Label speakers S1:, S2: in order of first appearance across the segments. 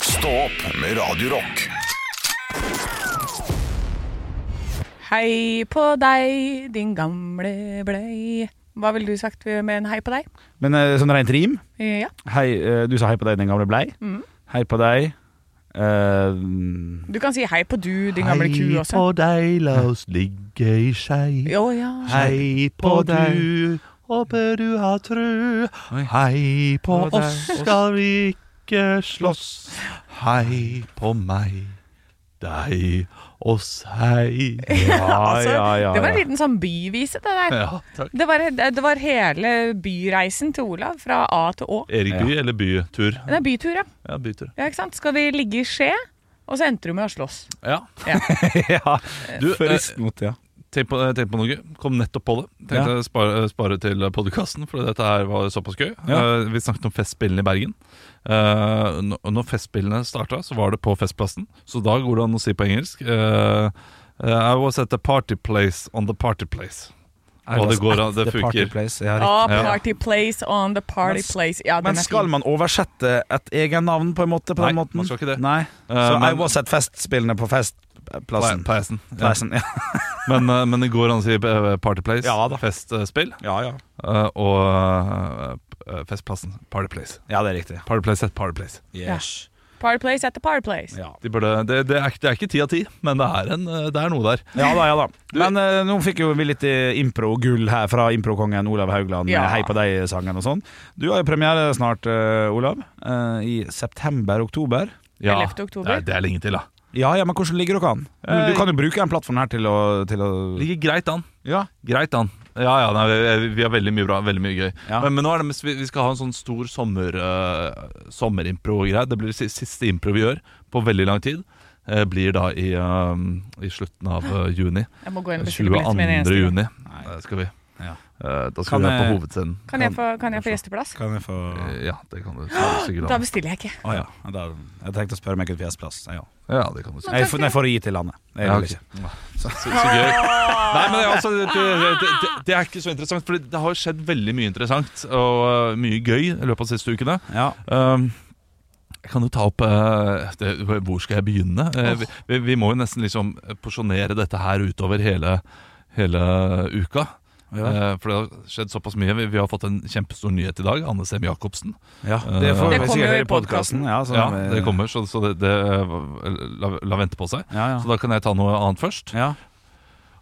S1: Stå opp med Radio Rock.
S2: Hei på deg, din gamle blei. Hva ville du sagt med en hei på deg?
S3: Men eh, sånn rent rim
S2: Ja.
S3: hei, eh, Du sa hei på deg, din gamle blei.
S2: Mm.
S3: Hei på deg. eh,
S2: Du kan si hei på du, din gamle ku
S4: Hei på
S2: også.
S4: deg, la oss ligge i skei.
S2: Jo, ja.
S4: Hei på
S3: på deg.
S4: du, håper du har tru.
S3: Oi.
S4: Hei på
S3: På deg.
S4: oss, skal vi ikke slåss. Hei på meg, deg, oss, hei.
S3: ja,
S2: Altså,
S3: ja, ja,
S2: Det var en
S3: ja.
S2: liten sånn byvise, det der.
S4: Ja, takk.
S2: Det var, det var hele byreisen til Olav, fra A til Å.
S4: Erik By eller Bytur?
S2: Det er bytur, ja.
S4: Ja, bytur.
S2: ja ikke sant? Skal vi ligge i skje? Og så endte du med å slåss.
S4: Ja.
S3: ja.
S4: Du, eh,
S3: Først mot, ja.
S4: tenk på, eh, tenk på noe. Kom nettopp på det. Tenkte jeg spare, eh, spare til podkasten, for dette her var såpass gøy.
S3: Ja.
S4: Eh, vi snakket om Festspillene i Bergen. Eh, nå- når Festspillene starta, så var det på Festplassen, så da går det an å si på engelsk eh, I was at the party place on the party place. Og det går an, det
S3: The party
S4: funker.
S3: place, ja,
S2: Å,
S3: riktig.
S4: Ja.
S2: party place on the party
S3: Men s-
S2: place. Ja, den
S3: Men
S2: er
S3: skal
S2: fin.
S3: man oversette et egen navn på en måte? På
S4: Nei,
S3: den måten?
S4: man skal ikke det.
S3: Nei. Så
S4: Eh, men-
S3: I was at festspillene på festplassen.
S4: Pleisen. Ja.
S3: Pleisen, Ja.
S4: Men, eh, men det går an å si eh, party place,
S3: Ja da.
S4: festspill,
S3: ja, ja.
S4: eh, og eh, Festplassen, party place.
S3: Ja, det er riktig.
S4: Party place at party place.
S3: Yes.
S2: Party place at the party place.
S3: Ja.
S4: De burde, det, det, er, ikke- det er ikke ti av ti, men det er, en, eh, det er noe der.
S3: Ja da, ja da. Men eh, nå fikk jo vi litt eh, impro-gull her fra improkongen Olav Haugland.
S2: Ja.
S3: med Hei på deg-sangen og sånn. Du har jo premiere snart, eh, Olav. eh, I september-oktober.
S2: 11. oktober.
S4: det, er, det er lenge til, da.
S3: Ja, ja, men hvordan ligger dere an? Du, du kan jo bruke den plattformen her til å, til å
S4: Ligger greit an.
S3: Ja.
S4: Greit an. Ja, ja, nei, vi, vi har veldig mye bra, veldig mye gøy.
S3: Ja.
S4: Men, men nå er det mest, vi, vi skal ha en sånn stor sommer, eh, sommerimpro-greie. Det blir det si- siste impro vi gjør på veldig lang tid. Eh, blir da i, eh, i slutten av eh, juni.
S2: Jeg må gå inn og bestille billett med en
S4: 22.
S2: eneste gang.
S4: juni
S3: Nei.
S4: eh, skal vi.
S3: Ja.
S4: Eh, da skal
S3: Kan
S4: vi være på
S3: jeg-
S4: hovedscenen.
S2: Kan jeg få, kan jeg få gjesteplass?
S3: Kan jeg få Å
S4: Eh, Ja, det kan du sikkert.
S2: Da
S4: ha.
S2: bestiller jeg ikke.
S3: ja. Da, jeg tenkte å spørre om jeg kunne få gjesteplass. Ja.
S4: Ja, det kan du sikkert.
S3: Jeg, får- nei, jeg får gi til landet. Jeg
S4: Ja,
S3: vil
S4: ok.
S3: ikke.
S4: Så, så gøy.
S3: Ah.
S4: Nei, men det, er altså, det, det, det, det er ikke så interessant, for det har jo skjedd veldig mye interessant og øh, mye gøy i løpet av de siste ukene.
S3: Ja.
S4: Um, jeg kan jo ta opp øh, det, Hvor skal jeg begynne? Eh, vi, vi, vi må jo nesten liksom porsjonere dette her utover hele, hele uka.
S3: Ja.
S4: Eh, for det har skjedd såpass mye. Vi, vi har fått en kjempestor nyhet i dag. Anne Sem Jacobsen.
S3: ja. Eh, Det får
S4: Det
S3: vi
S2: kommer jo
S3: sikkert
S2: i
S3: høre i
S2: podcasten.
S3: podkasten. Ja, eh, så-
S4: Ja, det kommer, så, så det, det øh, la, la vente på seg.
S3: Ja, ja.
S4: Så da kan jeg ta noe annet først.
S3: ja.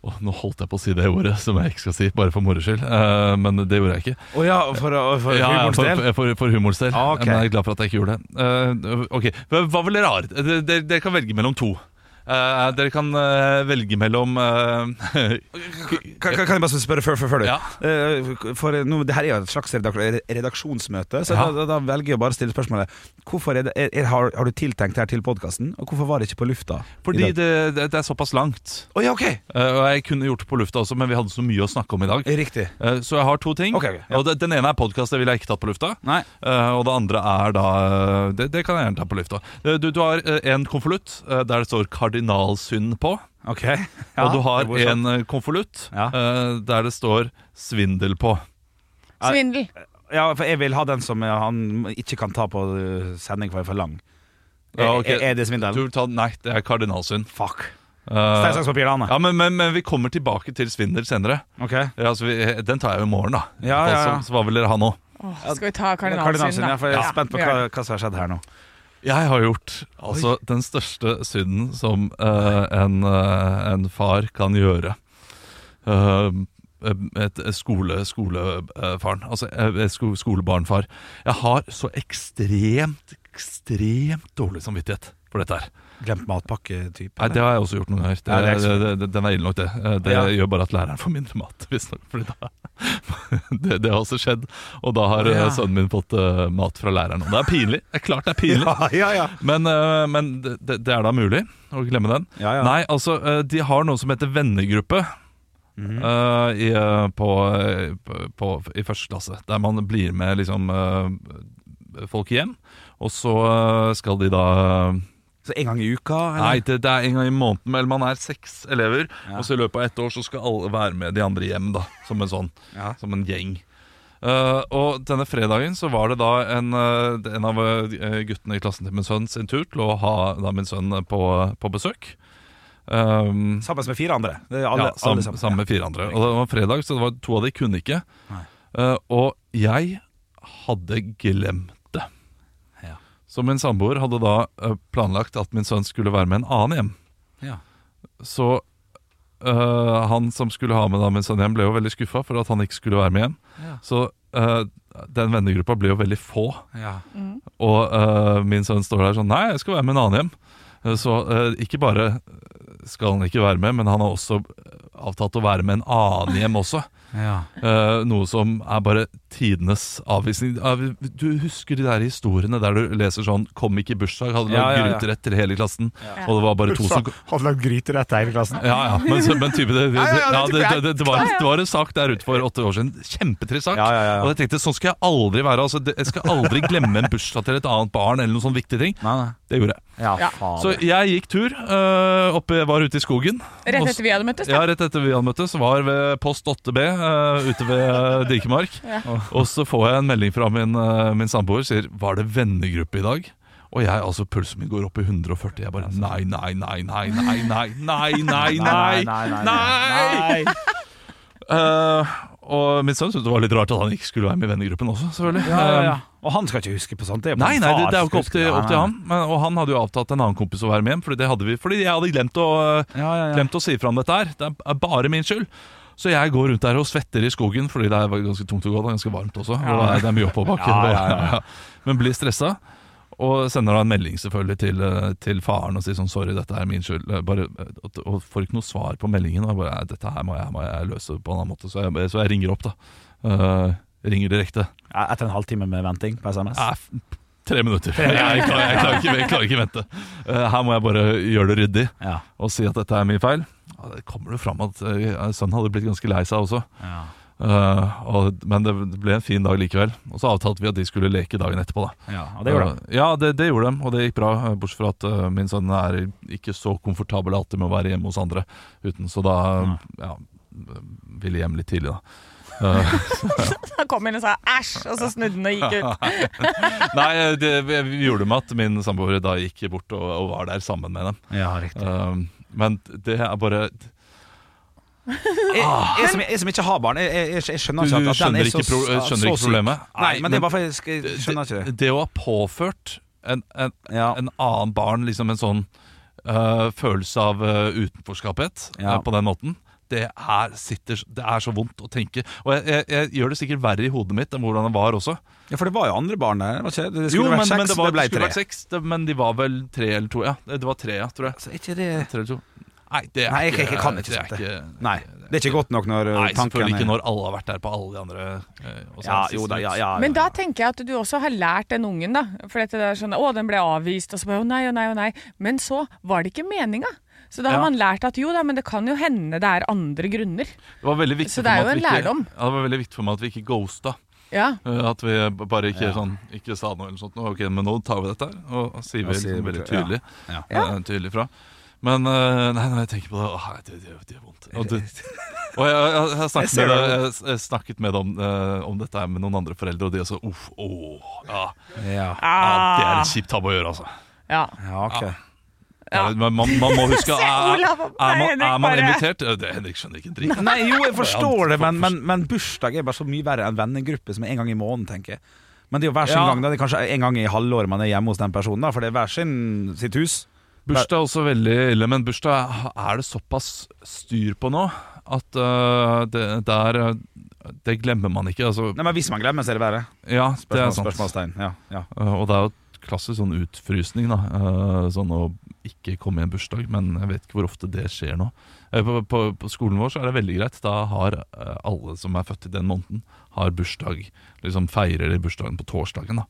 S4: Åh, nå holdt jeg på å si det ordet som jeg ikke skal si, bare for moro skyld. Eh, men det gjorde jeg ikke.
S3: Å ja, for, for
S4: Ja, ja,
S3: humorens
S4: for,
S3: del.
S4: for, for, for humorens del.
S3: Ah, ok.
S4: Men jeg er glad for at jeg ikke gjorde det. Eh, ok, Hva hva vil dere ha? Dere, dere, dere kan velge mellom to. Eh, dere kan eh, velge mellom eh,
S3: Kan, kan, kan jeg bare spørre før, før, før du?
S4: Ja.
S3: Eh, for- for nå, det her er jo et slags redak redaksjonsmøte, så
S4: Ja.
S3: da, da velger jeg å bare å stille spørsmålet Hvorfor er det, er, er, har, har du tiltenkt det her til podkasten, og hvorfor var det ikke på lufta? i
S4: Fordi
S3: dag?
S4: det, det, det er såpass langt.
S3: Å ja, ok!
S4: Eh, og jeg kunne gjort det på lufta også, men vi hadde så mye å snakke om i dag.
S3: Riktig.
S4: Eh, så jeg har to ting.
S3: Ok, ok, ja.
S4: Og det, Den ene er podkast, det ville jeg ikke tatt på lufta.
S3: Nei.
S4: Eh, og det andre er da eh, det, det kan jeg gjerne ta på lufta. Eh, Du, du har eh, en konvolutt eh, der det står 'kardinalsynd' på.
S3: Ok.
S4: og du har
S3: det sånn. er morsomt.
S4: en eh, konvolutt
S3: Ja.
S4: eh, der det står 'svindel' på.
S2: Svindel.
S3: Ja, for jeg vil ha den som eh, han ikke kan ta på eh, sending for jeg er for lang.
S4: Ja, ok.
S3: er, er det svindel?
S4: Du vil ta, nei, det er kardinalsynd.
S3: Fuck.
S4: Eh,
S3: Stein, saks, papir, da, Anne.
S4: ja, men, men, men vi kommer tilbake til svindel senere.
S3: Ok.
S4: Ja, altså, vi, eh, den tar jeg jo i morgen, da.
S3: Ja, ja, ja.
S4: Så, så hva vil dere ha nå?
S2: Åh, skal vi ta
S3: Kardinalsyn,
S2: kardinalsynden,
S3: ja,
S2: da?
S3: for jeg er spent på
S2: vi gjør
S3: hva, hva som har skjedd her nå.
S4: Jeg har gjort altså, den største synden som eh, en, eh, en far kan gjøre. Eh, et et skole, skolefaren. Altså eh, sko, skolebarnfar. Jeg har så ekstremt, ekstremt dårlig samvittighet for dette her.
S3: Glemt matpakke-type?
S4: Nei, Det har jeg også gjort noen ganger.
S3: Ja,
S4: Det,
S3: det er ikke så-
S4: det, det, den er ille nok, det. Eh, Det
S3: Ja.
S4: gjør bare at læreren får mindre mat. visstnok, fordi da, det, det har også skjedd. Og da har eh,
S3: Ja.
S4: sønnen min fått eh, mat fra læreren. Og det er pinlig. Det er klart det er pinlig.
S3: Ja, ja, ja.
S4: Men, øh, men det, det det er da mulig å glemme den.
S3: Ja, ja.
S4: Nei, altså, øh, de har noe som heter vennegruppe.
S3: Mhm.
S4: øh, i, øh, på, øh, på, på, I første klasse, der man blir med liksom, øh, folk hjem. Og så øh, skal de da
S3: Så en gang i uka?
S4: Nei,
S3: Eller?
S4: det, det er en gang i måneden, eller man er seks elever.
S3: Ja.
S4: Og så i løpet av ett år så skal alle være med de andre hjem, da. Som en sånn
S3: Ja.
S4: som en gjeng. Eh, og denne fredagen så var det da en, eh, en av eh, guttene i klassen til min sønn sin tur til å ha da min sønn på, på besøk. Um,
S3: Sammen med fire andre. Det er alle,
S4: ja, sam,
S3: alle sammen.
S4: sammen med fire andre. Og det var fredag, så det var to av de kunne ikke.
S3: Nei.
S4: Eh, og jeg hadde glemt det.
S3: Ja.
S4: Så min samboer hadde da eh, planlagt at min sønn skulle være med en annen hjem.
S3: Ja.
S4: Så eh, han som skulle ha med da min sønn hjem, ble jo veldig skuffa for at han ikke skulle være med hjem.
S3: Ja.
S4: Så eh, den vennegruppa ble jo veldig få.
S3: Ja.
S4: Og øh, min sønn står der sånn Nei, jeg skal være med en annen hjem. Eh, Så eh, ikke bare skal han ikke være med, men han har også avtalt å være med en annen hjem også.
S3: Ja.
S4: Eh, noe som er bare tidenes avvisning. Ah, Du husker de der historiene der du leser sånn 'Kom ikke i bursdag', hadde
S3: Ja, ja,
S4: lagd
S3: ja.
S4: gryterett til hele klassen, og det var bare to som
S3: Hadde lagd gryterett hele klassen.
S4: ja, ja, men, så- men type det, det,
S3: ja, ja,
S4: ja,
S3: det
S4: det,
S3: tipper
S4: det, det, det, var, det var en sak der ute for åtte år siden. Kjempetrist sak.
S3: Ja, ja, ja.
S4: Og jeg tenkte sånn skal jeg aldri være. Altså, det- jeg skal aldri glemme en bursdag til et annet barn. Eller noen sånne viktige ting
S3: Nei, nei.
S4: Det gjorde jeg.
S2: Ja.
S3: Ja, faen.
S4: Så jeg gikk tur. øh, oppe, var ute i skogen.
S2: Rett etter vi hadde møttes, da.
S4: Ja, rett etter vi hadde møttes, var ved post 8B øh, ute ved øh, Dikemark. Og så får jeg en melding fra min, øh, min samboer, sier 'var det vennegruppe i dag'? Og jeg, altså pulsen min går opp i 140. Jeg bare nei, nei, nei, nei, nei, nei, nei, nei, nei, nei. Eh, og min sønn syntes det var litt rart at han ikke skulle være med i vennegruppen også, selvfølgelig.
S3: Ja, ja, ja.
S4: Eh,
S3: Og han skal ikke huske på sånt. Det er på
S4: Nei,
S3: en
S4: nei, det,
S3: far
S4: det er jo
S3: som
S4: ikke opp til,
S3: husker.
S4: opp til
S3: Nei,
S4: han. Men, og han hadde jo avtalt en annen kompis å være med hjem, fordi, det hadde vi, fordi jeg hadde glemt å, øh,
S3: nei. Ja, ja, ja.
S4: glemt å si fra om dette her. Det er bare min skyld. Så jeg går rundt der og svetter i skogen, fordi det er ganske tungt å gå. Det er ganske varmt også. Og det er- det er mye oppoverbakke.
S3: Ja, ja, ja, ja.
S4: Men blir stressa. Og sender da en melding selvfølgelig til, eh, til faren og sier sånn Sorry, dette er min skyld. Eh, Bare, eh, og, og får ikke noe svar på meldingen. Og jeg bare, "Nei, dette her må jeg, må jeg løse på en annen måte. Så jeg, så jeg ringer opp, da. Eh, ringer direkte.
S3: Ja, Etter en halvtime med venting på SMS.
S4: Nei, f- tre minutter. Jeg, jeg, klarer, jeg, klarer ikke, jeg klarer ikke vente. Eh, her må jeg bare gjøre det ryddig
S3: Ja.
S4: og si at dette er min feil. Ja, det kommer det fram at eh, sønnen hadde blitt ganske lei seg også.
S3: Ja.
S4: Eh, og, men det ble en fin dag likevel. Og så avtalte vi at de skulle leke dagen etterpå. da
S3: ja. Og det gjorde han.
S4: Eh, ja, det, det gjorde de, og det gikk bra. eh, Bortsett fra at eh, min sønn er ikke så komfortabel alltid med å være hjemme hos andre uten, så da eh, ja, ville hjem litt tidlig, da. Eh,
S2: Han kom inn og sa æsj, og så snudde han og gikk ut.
S4: Nei, eh, det vi gjorde med at min samboer da gikk bort og, og var der sammen med dem.
S3: Ja, riktig.
S4: Um, men det er bare
S3: Jeg, jeg, som, jeg som ikke har barn, jeg, jeg, jeg skjønner
S4: Du-
S3: ikke at, at
S4: du
S3: den
S4: skjønner
S3: er så,
S4: ikke pro-
S3: så
S4: skjønner ikke
S3: syk.
S4: problemet.
S3: Nei,
S4: Nei,
S3: men det
S4: men-
S3: er bare for jeg sk- jeg skjønner ikke det.
S4: det, det å ha påført en, en,
S3: Ja.
S4: en annen barn liksom en sånn øh, følelse av øh, utenforskaphet
S3: Ja.
S4: øh, på den måten. Det er, sitter, det er så vondt å tenke. Og jeg, jeg, jeg gjør det sikkert verre i hodet mitt enn hvordan det var også.
S3: ja, for det var jo andre barn der. Var ikke? det? Det
S4: Jo,
S3: skulle
S4: men,
S3: vært seks,
S4: men det, var,
S3: ble
S4: skulle
S3: tre.
S4: vært seks, det, men de var vel tre eller to. Ja, det var tre, ja, tror jeg.
S3: Så ikke det
S4: Tre eller to. Nei, det er
S3: Nei, jeg, jeg, jeg kan
S4: det
S3: ikke
S4: er
S3: sånt. det.
S4: ikke-
S3: Nei, det er ikke godt nok når uh,
S4: Nei,
S3: tanken
S4: selvfølgelig ikke når alle har vært der på alle de andre. eh, og så
S3: ja,
S4: er det
S3: jo
S4: siste
S3: da, ja,
S4: ut.
S3: ja, ja.
S2: Men da tenker jeg at du også har lært den ungen, da. For dette der sånn, å, den ble avvist, og så bare å nei, å nei, å nei. Men så var det ikke meninga. Så da har
S3: Ja.
S2: man lært at jo da, men det kan jo hende det er andre grunner.
S4: Det var veldig viktig
S2: Så det er
S4: for meg
S2: jo
S4: at
S2: en
S4: vi ikke- Ja, det var veldig viktig for meg at vi ikke ghosta.
S2: Ja.
S4: Eh, At vi bare ikke, sånn, ikke sa noe eller sånt. nå, Ok, men nå tar vi dette her. Og og sier
S3: Ja,
S4: vi
S3: sier
S4: liksom
S3: vi
S4: veldig
S3: det, ja.
S4: tydelig,
S3: Ja.
S4: eh, tydelig fra. Men eh, nei, når jeg tenker på det Åh, det, det, det gjør vondt. Og, det, og jeg, jeg, jeg, har
S3: Jeg
S4: snakket
S3: ser
S4: med det,
S3: det.
S4: jeg, jeg snakket med det om, eh, om dette her med noen andre foreldre, og de også uff, åh, ja,
S3: Ja,
S4: ja, det er
S2: Ah.
S4: en kjip tabbe å gjøre, altså.
S2: Ja.
S3: ja, ok.
S4: Ja. Man, man må huske
S2: Se,
S4: er, Ah. er,
S2: Olav, nei,
S4: man,
S2: Henrik,
S4: er man
S2: bare-
S4: invitert? Eh, Det, Henrik skjønner ikke en dritt.
S3: Nei, jo, jeg
S4: Ja,
S3: forstår det,
S4: for-
S3: men, men, men bursdag er bare så mye verre enn vennegruppe som er en gang i måneden, tenker jeg. Men det er jo hver sin
S4: Ja.
S3: gang, da. Det er kanskje en gang i halvåret man er hjemme hos den personen, da, for det er hver sin sitt hus.
S4: Bursdag er også veldig ille, men bursdag er det såpass styr på nå at øh, det, der, øh, det glemmer man ikke. Altså,
S3: Nei, men Hvis man glemmer, så er det verre.
S4: ja, det er
S3: Spørsmål,
S4: sant.
S3: spørsmålstegn. Ja, ja.
S4: Øh, og det er jo klassisk sånn utfrysning, da. øh, sånn å ikke komme i en bursdag, men jeg vet ikke hvor ofte det skjer nå. Eh, på, på, på skolen vår så er det veldig greit. Da har øh, alle som er født i den måneden, har bursdag. Liksom feirer de bursdagen på torsdagen, da.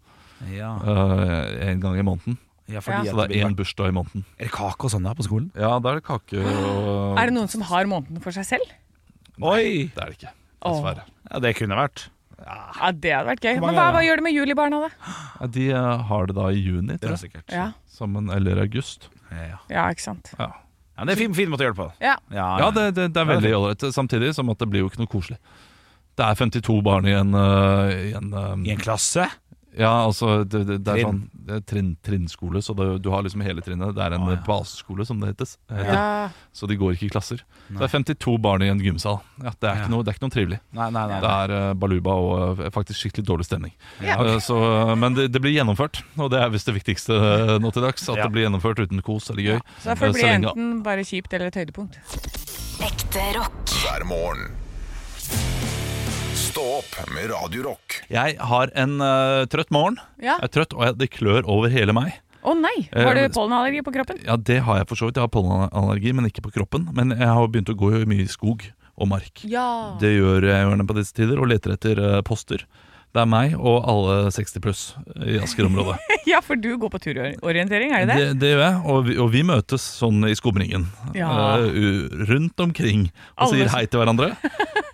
S3: Ja.
S4: Øh, en gang i måneden.
S3: Ja, fordi
S2: Ja.
S4: Så
S3: At det
S4: det
S3: blir
S4: er én bursdag i måneden.
S3: Er det kake og sånn da på skolen?
S4: Ja, da er det kake og
S2: Er det noen som har måneden for seg selv?
S3: Oi!
S4: Det er det ikke,
S2: Åh.
S4: dessverre.
S3: Ja, det kunne vært.
S2: Ja, det hadde vært gøy.
S3: Hvor
S2: Men
S3: mange
S2: hva,
S3: er det?
S2: hva gjør du med julibarna, da?
S4: Ja, De eh, har det da i juni,
S3: Det
S4: tror
S3: er
S4: jeg.
S3: sikkert.
S2: Ja,
S4: Sammen, eller august.
S3: Ja, ja.
S2: ja ikke sant.
S4: Ja,
S3: Ja, det er en fin, fin måte å gjøre det på.
S2: Ja.
S4: ja det, det, det er
S3: Ja, det
S4: veldig ålreit. Samtidig som at det blir jo ikke noe koselig. Det er 52 barn i en, eh, i en, eh,
S3: I en klasse?
S4: Ja, altså det, det, det er
S3: Trinn.
S4: sånn det er trinn, trinnskole, så det, du har liksom hele trinnet. Det er en
S3: Å, ja.
S4: baseskole, som det hetes. heter.
S2: Ja.
S4: Så de går ikke i klasser. Det er 52 barn i en gymsal. Ja, det, er
S3: Ja.
S4: ikke noe, det er ikke noe trivelig.
S3: Nei, nei, nei.
S4: Det er eh, baluba og eh, faktisk skikkelig dårlig stemning.
S2: Ja.
S4: Eh, så, eh, men det, det blir gjennomført, og det er visst det viktigste eh, nå til dags. At
S3: Ja.
S4: det blir gjennomført uten kos eller gøy.
S2: Så derfor
S4: Eh,
S2: blir det
S4: lenge-
S2: enten bare kjipt eller et høydepunkt.
S5: Ekte rock.
S1: hver morgen. Stå opp med Radio Rock.
S4: Jeg har en eh, trøtt morgen.
S2: Ja.
S4: Jeg er trøtt, og jeg, det klør over hele meg.
S2: Å nei! Har du
S4: Eh,
S2: pollenallergi på kroppen?
S4: Ja, det har jeg for så vidt. Jeg har pollenallergi, men ikke på kroppen. Men jeg har begynt å gå mye i skog og mark.
S2: Ja.
S4: Det gjør jeg gjerne på disse tider, og leter etter eh, poster. Det er meg og alle 60 pluss i Asker-området.
S2: ja, for du går på turorientering, er det
S4: det,
S2: det?
S4: det gjør jeg, og vi, og vi møtes sånn i skumringen.
S2: Ja.
S4: eh, u- rundt omkring og
S2: Alle
S4: sier
S2: som-
S4: hei til hverandre.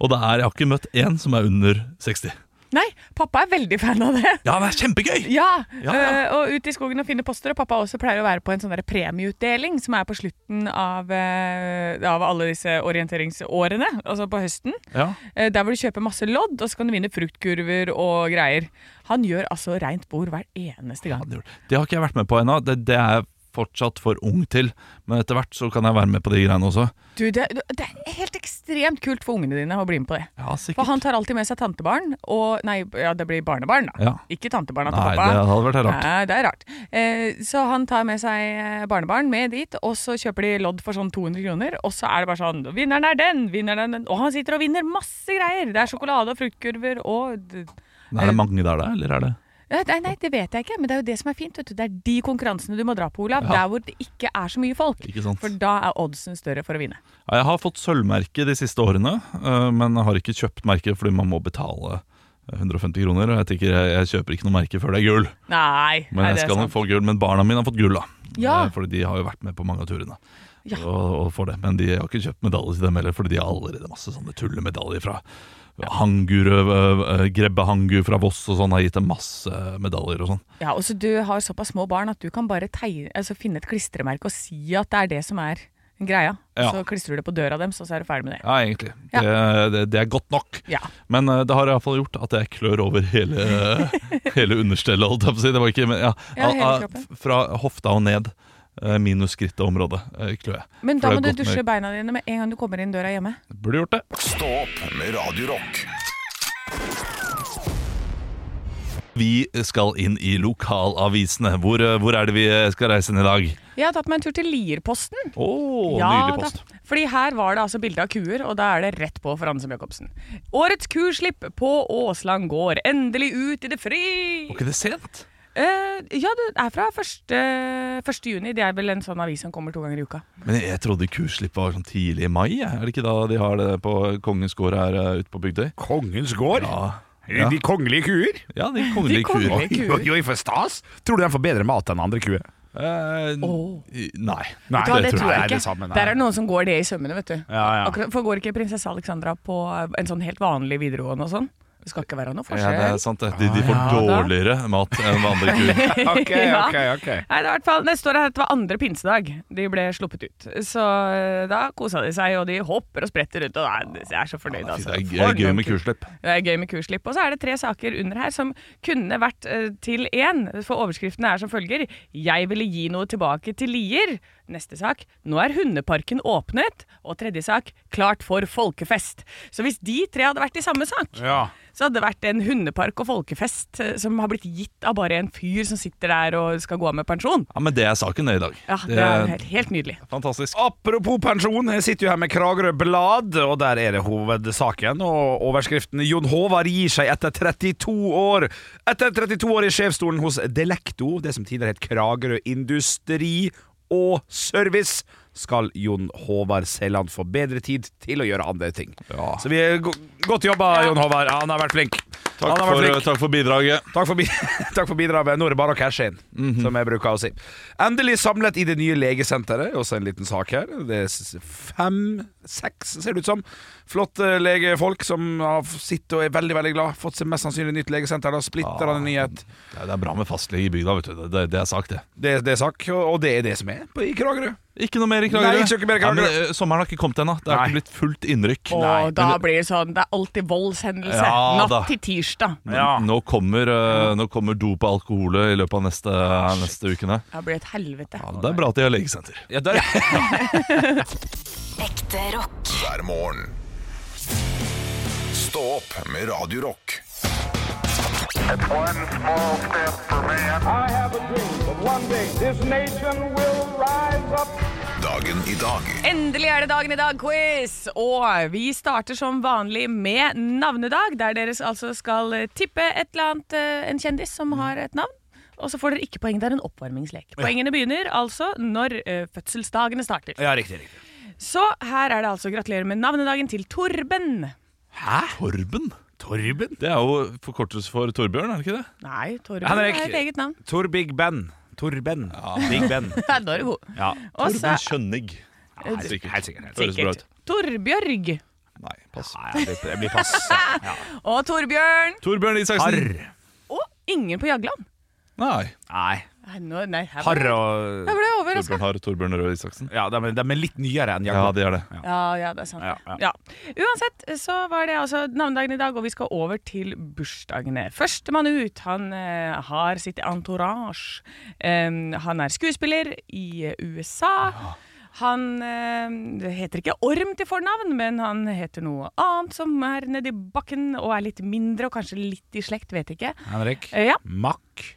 S4: Og det er, jeg har ikke møtt én som er under 60.
S2: Nei, pappa er veldig fan av det.
S4: Ja, det er kjempegøy!
S2: Ja,
S4: Ja, ja.
S2: eh, og ut i skogen og finne poster. Og pappa også pleier å være på en sånn der premieutdeling som er på slutten av, eh, av alle disse orienteringsårene, altså på høsten.
S4: Ja.
S2: Eh, Der hvor du kjøper masse lodd, og så kan du vinne fruktkurver og greier. Han gjør altså reint bord hver eneste gang.
S4: Det gjorde- det har ikke jeg vært med på ennå. Det, det er jeg fortsatt for ung til. Men etter hvert så kan jeg være med på de greiene også.
S2: Du, det, det er helt ekstremt kult for ungene dine å bli med på det.
S4: Ja,
S2: For
S4: sikkert.
S2: han tar alltid med seg tantebarn og Nei, ja, det blir barnebarn, da.
S4: Ja.
S2: Ikke tantebarna til
S4: Nei, det
S2: pappa.
S4: hadde vært rart.
S2: Nei, det er rart. Eh, så han tar med seg eh, barnebarn med dit, og så kjøper de lodd for sånn 200 kroner. Og så er det bare sånn 'Vinneren er den! Vinneren er den!' Og han sitter og vinner masse greier! Det er sjokolade og fruktkurver og d-
S4: Er det mange der, da? Eller er det
S2: Eh, Nei, nei, det vet jeg ikke, men det er jo det som er fint. Vet du. Det er de konkurransene du må dra på, Olav.
S4: Ja.
S2: Der hvor det ikke er så mye folk.
S4: Ikke sant.
S2: For da er oddsen større for å vinne.
S4: Ja, Jeg har fått sølvmerke de siste årene, eh, men har ikke kjøpt merke fordi man må betale eh, 150 kroner. Og jeg tenker jeg, jeg kjøper ikke noe merke før det er gull.
S2: Nei,
S4: Men
S2: nei,
S4: jeg
S2: det er
S4: skal nok
S2: sant.
S4: få gull, men barna mine har fått gull, da.
S2: Ja.
S4: Eh, Fordi de har jo vært med på mange av turene.
S2: Ja.
S4: Og, og får det. Men de har ikke kjøpt medalje til dem heller, fordi de har allerede masse sånne tullemedaljer fra Hangur, eh, eh, Grebbe Hangur fra Voss og sånn, har gitt dem masse medaljer og sånn.
S2: Ja, og så Du har såpass små barn at du kan bare tegne, altså finne et klistremerke og si at det er det som er greia.
S4: Ja.
S2: Så klistrer du det på døra deres, og så er du ferdig med det.
S4: Ja, egentlig.
S2: Ja.
S4: Det, det, det er godt nok.
S2: Ja.
S4: Men eh, det har iallfall gjort at jeg klør over hele, hele understellet. holdt jeg på å si. Det var ikke, men, ja,
S2: Ja, hele
S4: ah, ah,
S2: kroppen.
S4: f- fra hofta og ned, eh, minus skrittet området, eh, klør jeg.
S2: Men da må
S4: For
S2: du
S4: det er godt
S2: dusje
S4: med-
S2: beina dine med en gang du kommer inn døra hjemme.
S4: Burde gjort det.
S1: Stå opp med Radio Rock.
S4: Vi skal inn i lokalavisene. Hvor, eh, hvor er det vi eh, skal reise inn i dag?
S2: Jeg har tatt meg en tur til Lierposten.
S4: Å, nydelig post.
S2: da. Fordi her var det altså bilde av kuer, og da er det rett på for Anne Jacobsen. Årets kuslipp på Åsland gård. Endelig ut i det fri!
S4: Var ikke det sent?
S2: Eh, ja, det er fra 1. 1. juni. Det er vel en sånn avis som kommer to ganger i uka.
S4: Men jeg trodde kurslippet var sånn tidlig i mai. jeg. Er det ikke da de har det på Kongens gård her eh, ute på Bygdøy?
S3: Kongens gård?
S4: Ja,
S3: De- De kongelige kuer?
S4: ja de
S2: kongelige
S4: kongelige kuer.
S2: Oi, kuer.
S3: oi, for stas! Tror du de får bedre mat enn andre kuer?
S4: Eh, n-
S2: Åh.
S4: i- Nei.
S3: Nei,
S2: Vet du hva, det, tror jeg
S3: nei,
S2: ikke.
S3: det samme, nei.
S2: Der er det noen som går det i sømmene, vet du.
S3: Ja, ja.
S2: Akkurat, for går ikke prinsesse Alexandra på en sånn helt vanlig videregående og sånn? Det skal ikke være noe
S4: Ja,
S2: forskjell.
S4: det er sant. det. De, de får
S2: Ah, ja, da.
S4: dårligere mat enn vanlige kuer.
S3: Ok,
S2: Ja.
S3: ok, ok.
S2: Nei, det, er i hvert fall, det står her at det var andre pinsedag de ble sluppet ut. Så eh, da kosa de seg, og de hopper og spretter rundt. Og nei, jeg er så fornøyd, altså.
S4: Det er
S2: For
S4: gøy- gøy
S2: noen
S4: med
S2: ku-
S4: kurslipp.
S2: Det er gøy med kurslipp. Og så er det tre saker under her som kunne vært eh, til én. For overskriftene er som følger. Jeg ville gi noe tilbake til Lier. Neste sak. Nå er hundeparken åpnet. Og tredje sak. Klart for folkefest. Så hvis de tre hadde vært i samme sak,
S3: Ja.
S2: så hadde det vært en hundepark og folkefest eh, som har blitt gitt av bare en fyr som sitter der og skal gå av med pensjon.
S4: Ja, Men det er saken det i dag.
S2: Ja, det er helt, helt nydelig.
S4: fantastisk.
S3: Apropos pensjon, jeg sitter jo her med Kragerø Blad, og der er det hovedsaken. Og overskriften 'Jon Håvard gir seg etter 32 år'. Etter 32 år i sjefsstolen hos Delekto, det som tidligere het Kragerø Industri og Service, skal Jon Håvard Seland få bedre tid til å gjøre andre ting. Så vi er go godt jobba, Jon Håvard. Han har vært flink.
S4: Takk
S3: han har vært
S4: for,
S3: flink.
S4: takk for bidraget.
S3: Takk for, bi- takk for bidraget. Nå er det bare å cashe inn, som jeg bruker å si. Endelig samlet i det nye legesenteret. Også en liten sak her. Det er s- fem, seks, ser det ut som, flotte legefolk som har f- sitter og er veldig veldig glad. Fått seg mest sannsynlig nytt legesenter. Da splitter han en nyhet.
S4: Ja, Det er bra med fastlege i bygda, vet du. Det, det, det er sak, det.
S3: Det, det er sak, og og det er det som er på, i Kragerø.
S4: Ikke noe mer i Kragerø.
S3: Nei, ikke mer i
S4: Ja, men,
S3: Kragerø.
S4: eh, sommeren har ikke kommet ennå. Det
S3: Nei.
S4: har ikke blitt fullt innrykk.
S2: Og da
S4: Men det-
S2: blir det sånn Det er alltid voldshendelse.
S4: Ja,
S2: Natt
S4: da.
S2: til tirsdag.
S3: Ja.
S4: Nå kommer, eh, nå kommer dop og alkohol i løpet av neste, neste ukene.
S2: Det blir et helvete.
S4: Ja, det er bra at de har legesenter.
S3: Ja, der,
S5: Ekte rock.
S1: hver morgen. Stå opp med Radio Rock.
S6: One small step for man.
S7: I have a dream that one day this nation will rise up.
S1: Dagen i dag
S2: Endelig er det dagen i dag-quiz! Og vi starter som vanlig med navnedag, der dere altså skal eh, tippe et eller annet, eh, en kjendis som har et navn. Og så får dere ikke poeng. Det er en oppvarmingslek. Poengene begynner altså når eh, fødselsdagene starter.
S3: ja riktig, riktig.
S2: Så her er det altså gratulerer med navnedagen til Torben.
S3: Hæ?
S4: Torben?
S3: Torben?
S4: Det er jo forkortelse for Torbjørn, er det ikke det?
S2: Nei, Torben
S3: Henrik.
S2: er et eget navn.
S3: Tor Big Ben. Torben. Big Ben.
S2: Ja, da er du god.
S3: Ja.
S2: Og så
S4: Torbjørn Kjønnig.
S3: Helt sikkert. Helt sikkert. helt sikkert.
S4: Høres bra
S2: sikkert
S4: ut.
S2: Torbjørg.
S4: Nei, pass.
S3: Nei, jeg blir- jeg blir pass. Ja.
S2: Og Torbjørn.
S4: Torbjørn Isaksen.
S3: Harr.
S2: Og ingen på Jagland.
S4: Nei.
S3: Nei.
S2: Nei, nå- nei, her var
S3: Harr
S2: det-
S3: og
S2: her var det overraska.
S4: Torbjørn Harr og Torbjørn Røe Isaksen.
S3: Ja, de er, de er litt nyere enn
S4: Ja,
S3: Jakob.
S4: det er det.
S2: Ja, ja, det er sant.
S3: Ja,
S2: Ja, Uansett så var det altså navnedagen i dag, og vi skal over til bursdagene. Førstemann ut, han eh, har sitt entourage. Em, han er skuespiller i eh, USA. Han eh, heter ikke Orm til fornavn, men han heter noe annet som er nedi bakken og er litt mindre og kanskje litt i slekt, vet ikke.
S3: Henrik.
S2: Eh, ja,
S3: Mack.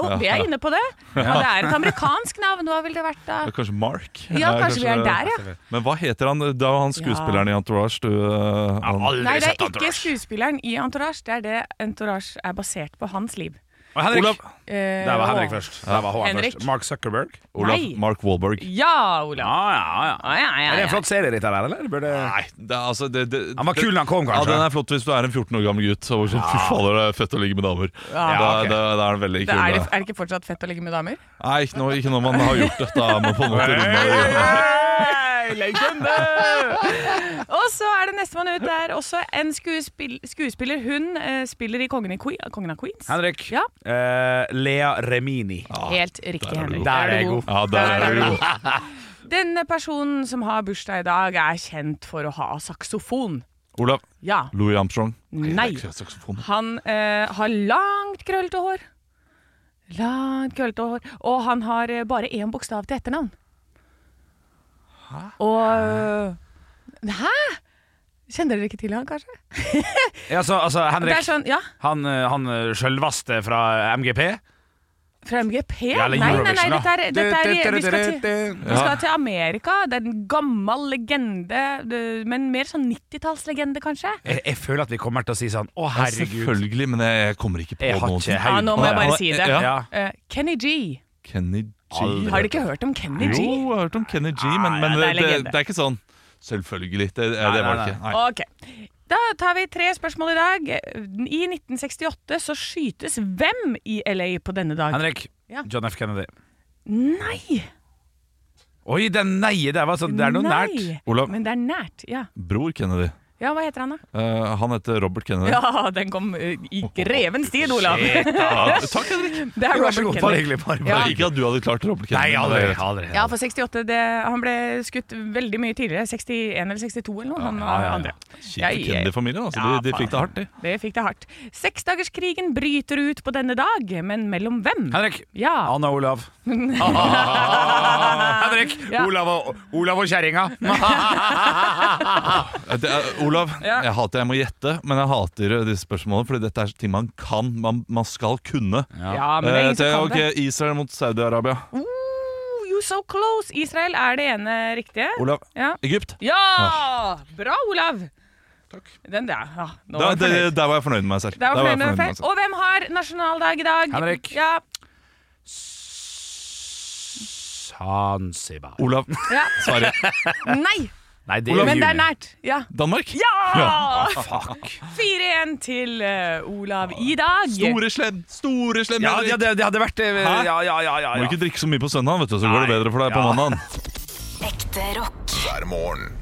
S2: oh, vi er inne på det. Ja, det er et amerikansk navn, hva ville det vært da?
S4: Ja, Kanskje Mark?
S2: Ja,
S4: Er
S2: kanskje vi er der, ja.
S4: Men hva heter han? Det er jo han skuespilleren i Entourage. Du, eh,
S3: Jeg har
S4: han.
S3: aldri
S2: Nei, det
S3: sett
S2: er ikke
S3: Entourage.
S2: skuespilleren i Entourage. Det er det Entourage er basert på hans liv.
S3: Og Henrik.
S4: Olav.
S2: Eh,
S3: Der var Henrik
S2: og-
S3: først. Der var Håvard
S2: Henrik.
S3: først. Mark Zuckerberg.
S4: Olaf
S2: Nei.
S4: Mark Wahlberg.
S2: Ja, Olav.
S3: Ja, ja, ja.
S2: Ja, ja, ja,
S3: Er det
S2: ja.
S3: en flott serie, dette her, eller? Burde...
S4: Nei, det er altså det, det,
S3: Han var kul da han kom,
S4: Ja,
S3: kanskje.
S4: Den er flott hvis du er en 14 år gammel gutt. Og sånn, Fy fader, det er fett å ligge med damer. da,
S3: ok.
S4: da, da er den veldig
S2: Det
S4: kul.
S2: er, det,
S4: da.
S2: er det ikke fortsatt fett å ligge med damer?
S4: Nei, ikke når, ikke når man har gjort det. Da er man på en måte runde.
S2: Hei, legende! og så er det nestemann ut. Det er også en skuespill, skuespiller. Hun eh, spiller i Kongen, i Que Kongen av Queens.
S3: Henrik.
S2: Ja.
S3: Eh, Lea Remini.
S2: Helt riktig,
S4: der er du
S2: Henrik.
S4: god.
S3: Der er jeg god.
S4: Ja, der er det jo
S2: Denne personen som har bursdag i dag, er kjent for å ha saksofon.
S4: Olav.
S2: Ja.
S4: Louis Armstrong.
S2: Nei.
S4: det er ikke saksofon.
S2: Han eh, har langt krøllete hår. Langt krøllete hår. Og han har eh, bare én bokstav til etternavn. Hæ? Og eh, Hæ? Kjenner dere ikke til han, kanskje?
S3: Ja, så, altså,
S2: Det er
S3: Henrik.
S2: sånn, ja,
S3: Han, eh, han eh, sjølvaste fra MGP.
S2: Fra MGP?
S3: Ja,
S2: nei,
S3: eller
S2: nei, nei,
S3: Eurovision,
S2: dette er,
S3: da.
S2: dette er vi, skal til, vi skal
S4: Ja.
S2: til Amerika. Det er en gammel legende, det- men mer sånn 90-tallslegende, kanskje.
S3: Jeg, jeg føler at vi kommer til å si sånn Å,
S4: Ja,
S3: herregud.
S4: selvfølgelig, men jeg, jeg kommer ikke på
S3: Jeg har
S4: noen
S3: ikke
S4: ting.
S2: Ja, nå må jeg bare si det.
S4: Ja.
S3: Ja.
S2: Eh, Kenny G.
S4: Kenny G.
S3: Aldri.
S2: Har dere ikke hørt om Kenny
S4: Jo,
S2: G?
S4: jeg har hørt om Kenny G, men,
S2: Ja,
S4: men
S2: det
S4: det,
S2: er
S4: det,
S2: legende.
S4: det er ikke sånn Selvfølgelig. Det, det, det var det ikke. Nei.
S2: Ok. Da tar vi tre spørsmål i dag. I 1968 så skytes hvem i LA på denne dag?
S3: Henrik.
S2: Ja.
S3: John F. Kennedy.
S2: Nei!
S3: Oi, det nei-et der var sånn Det er noe
S2: Nei.
S3: nært.
S4: Olav.
S2: Men det er nært, ja.
S4: Bror Kennedy.
S2: Ja, hva heter han da?
S4: Eh, han heter Robert Kennedy.
S2: Ja, den kom eh, i grevens tid, Olav. Det
S4: Ja, takk, Henrik.
S2: er
S3: Vær
S2: Robert
S3: så god. Bare
S2: Kennedy.
S3: hyggelig. Bare, bare
S4: Ja.
S3: hyggelig.
S4: Ikke at du hadde klart Robert Kennedy.
S3: Nei,
S4: men
S3: aldri.
S4: det er greit.
S3: aldri.
S2: Ja, for 68, det, han ble skutt veldig mye tidligere. 61 eller 62 eller noe. Han
S4: ja,
S2: var
S4: ja, ja.
S2: andre.
S4: Kjipt
S2: Jeg-
S4: for Kennedy-familien. Altså,
S2: Ja,
S4: de, de
S2: faen.
S4: fikk det hardt, de.
S2: Det fikk det hardt. Seksdagerskrigen bryter ut på denne dag, men mellom hvem?
S3: Henrik.
S2: Ja.
S3: Anna og Olav. Henrik.
S2: Ja.
S3: Olav og, Olav og kjerringa.
S4: Eh, Det er, Olav,
S2: Ja.
S4: jeg hater jeg må gjette, men jeg hater eh, disse spørsmålene. Fordi dette er ting man kan. Man, man skal kunne.
S2: Ja, men det er ingen som
S4: Eh,
S2: kan
S4: ok,
S2: det.
S4: Israel mot Saudi-Arabia.
S2: Oh, you so close! Israel er det ene riktige.
S4: Olav.
S2: Ja.
S4: Egypt.
S2: ja! Bra, Olav! Den der. Ja, nå
S4: Da,
S2: var jeg
S4: det,
S2: fornøyd.
S4: der var jeg fornøyd med meg selv.
S2: Der var
S4: Der
S2: jeg fornøyd med meg.
S4: selv.
S2: Og hvem har nasjonaldag i dag?
S3: Henrik.
S2: Ja,
S3: Zanzibar.
S4: Olav.
S2: ja.
S4: Sverige.
S2: Nei,
S3: Nei, det er
S4: Olav
S2: men det er
S3: juni.
S2: nært. Ja!
S4: Danmark. Ah,
S2: ja!
S3: Fuck.
S2: 4-1 til eh, Olav i dag.
S4: Store slem. Store slem.
S3: Ja,
S4: Henrik.
S3: ja, det, det hadde vært eh,
S4: Hæ?
S3: Ja, ja, ja. ja,
S4: Må
S3: ja.
S4: ikke drikke så mye på søndag, vet du, så går det
S3: Nei.
S4: bedre for deg på
S3: Ja.
S4: mandag.
S5: Ekte rock.
S1: hver morgen.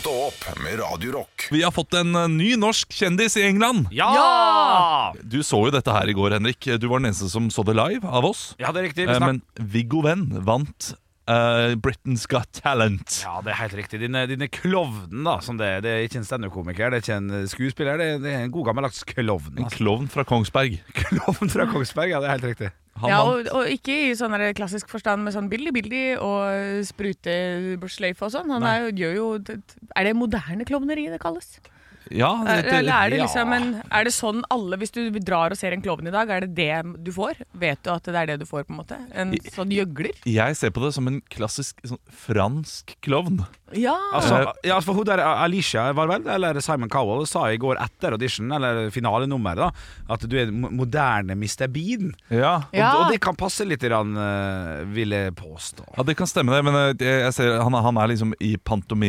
S1: Stå opp med Radio Rock
S4: Vi har fått en eh, ny norsk kjendis i England.
S3: Ja!
S4: Du så jo dette her i går, Henrik. Du var den eneste som så det live av oss.
S3: Ja, det er riktig. Vi
S4: Eh,
S3: snakker
S4: Men Viggo Venn vant eh, eh, Britain's Got Talent.
S3: Ja, det er helt riktig. Dine, dine klovnen, da. Som det, er. det er ikke en standup-komiker, det er ikke en eh, skuespiller, det er, det er en god gammeldags klovn.
S4: En
S3: Altså.
S4: klovn fra Kongsberg.
S3: Klovn fra Kongsberg, ja, det er helt riktig.
S4: Han
S2: Ja,
S4: vant-
S2: og, og ikke i sånn der klassisk forstand med sånn billy-billy og sprutesløyfe og sånn. Han er, jo- gjør jo Er det moderne klovneri det kalles?
S4: ja,
S2: Er,
S4: det-
S2: Eh, eller er det
S4: ja.
S2: liksom en Er det sånn alle Hvis du drar og ser en klovn i dag, er det det du får? Vet du at det er det du får, på en måte? En sånn gjøgler?
S4: Jeg ser på det som en klassisk sånn, fransk klovn.
S2: Ja!
S3: Altså, ja, for hun der Alicia var vel, eller Simon Cowell, sa i går etter audition, eller finalenummeret, da, at du er en mo- moderne Mr. Bean.
S4: Ja.
S3: Og,
S2: Ja.
S3: og det kan passe litt, grann, eh, vil jeg påstå.
S4: Ja, Det kan stemme, det, men eh, det- jeg ser, han, er- han er liksom i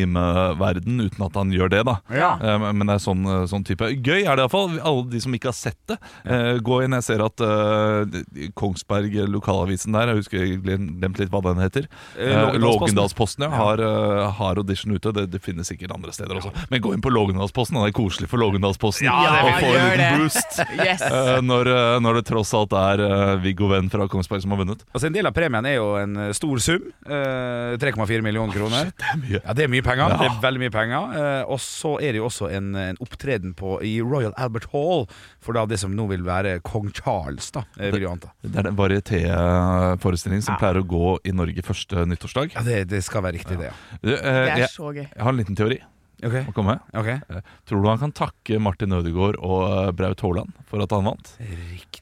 S4: pantomimeverden uten at han gjør det. da
S3: Ja.
S4: Eh, Men det er sånn, eh, sånn type Gøy er det iallfall. Alle de som ikke har sett det, eh, gå inn. Jeg ser at eh, de- Kongsberg, eh, lokalavisen der, jeg husker jeg glem- glemte litt hva den heter.
S3: Eh,
S4: Eh,
S3: Lågendalsposten.
S4: Lågendalsposten, ja. Har, eh, har audition ute. Det, det finnes sikkert andre steder også. Men gå inn på Lågendalsposten. Det er koselig for Lågendalsposten.
S2: Ja,
S4: og
S2: det-
S4: få en
S2: gjør
S4: liten
S2: det.
S4: boost.
S2: Yes!
S4: eh, Når, eh, når det tross alt er eh, Viggo Venn fra Kongsberg som har vunnet.
S3: Altså, en del av premien er jo en eh, stor sum. eh, 3,4 millioner kroner.
S4: Shit, det er mye.
S3: Ja, det er mye penger.
S4: Ja.
S3: Det er veldig mye penger. Eh, og så er det jo også en, en opptreden på, i Royal Albert Hall for da det som nå vil være kong Charles, da, eh, vil jeg anta.
S4: Det er den varietéforestillingen som
S3: Ja.
S4: pleier å gå i Norge første nyttårsdag.
S3: Ja, det, det skal være riktig, det, ja.
S4: Du, eh,
S2: Det er
S4: jeg,
S2: så gøy.
S4: jeg har en liten teori å
S3: Ok,
S4: komme med.
S3: ok.
S4: Eh, Tror du han kan takke Martin Ødegaard og eh, Braut Haaland for at han vant?
S3: Riktig.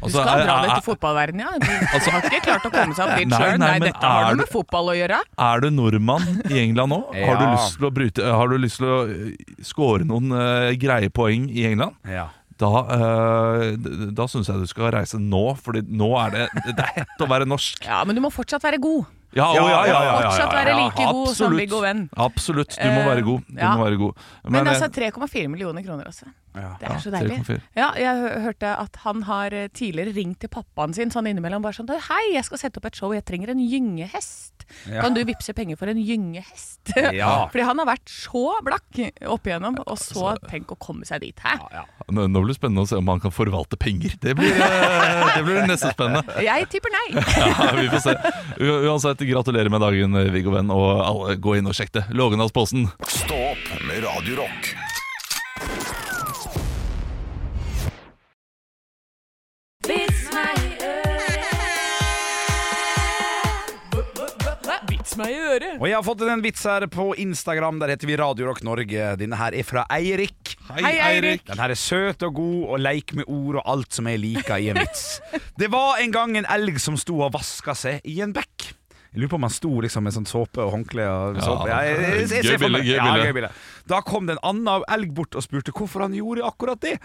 S2: Du
S4: Altså,
S2: skal
S4: er,
S2: dra det til
S4: er,
S2: fotballverdenen, ja. Du har ikke klart å komme seg opp dit
S4: Nei,
S2: sjøl.
S4: nei,
S2: Nei,
S4: men
S2: dette har
S4: er
S2: noe
S4: du-
S2: med fotball å gjøre.
S4: er du nordmann i England nå? Har, du
S3: Ja.
S4: lyst til å bryte, eh, har du lyst til å eh, score noen eh, greie poeng i England?
S3: Ja.
S4: Da, eh, d- da syns jeg du skal reise nå, Fordi nå er det, det er hett å være norsk.
S2: Ja, men du må fortsatt være god.
S4: Ja,
S3: Ja,
S4: å, ja, ja, ja, ja, ja,
S2: fortsatt være
S4: ja.
S2: like god som
S4: Absolutt.
S2: Viggo Venn.
S4: Absolutt. Du må
S2: Eh,
S4: være god. Du
S2: ja.
S4: må være god.
S2: Men,
S4: eh,
S2: altså 3,4 millioner kroner, altså.
S3: Ja.
S2: Det er
S4: Ja,
S2: så deilig.
S4: 3,4.
S2: Ja, jeg hø- hørte at han har eh, tidligere ringt til pappaen sin sånn innimellom. Bare sånn 'Hei, jeg skal sette opp et show. Jeg trenger en gyngehest.
S3: Ja.
S2: Kan du vippse penger for en gyngehest?'
S3: Ja.
S2: Fordi han har vært så blakk opp igjennom, og så tenk å komme seg dit. Hæ?
S4: Nå nå blir det spennende å se om han kan forvalte penger. Det blir, eh, det blir nesten spennende.
S2: Jeg tipper nei.
S4: Ja, vi får se. U uansett, gratulerer med dagen, eh, Viggo Venn, og alle, gå inn og sjekk det. Lågendalsposten.
S1: Stå opp med Radio Rock.
S2: Vits meg i øret.
S3: Og jeg har fått en vits her på Instagram. Der heter vi Radio Rock Norge. Denne her er fra Eirik.
S2: Hei, Eirik.
S3: Den her er søt og god og leik med ord og alt som jeg liker i en vits. Det var en gang en elg som sto og vaska seg i en bekk. Jeg lurer på om han sto liksom med sånn såpe og håndkle. Og
S4: Ja,
S3: såpe. Ja, jeg, jeg, jeg, jeg,
S4: gøy
S3: ser for meg-
S4: bilde, gøy
S3: Ja,
S4: bilde.
S3: gøy bilde. Da kom det en annen elg bort og spurte hvorfor han gjorde akkurat det.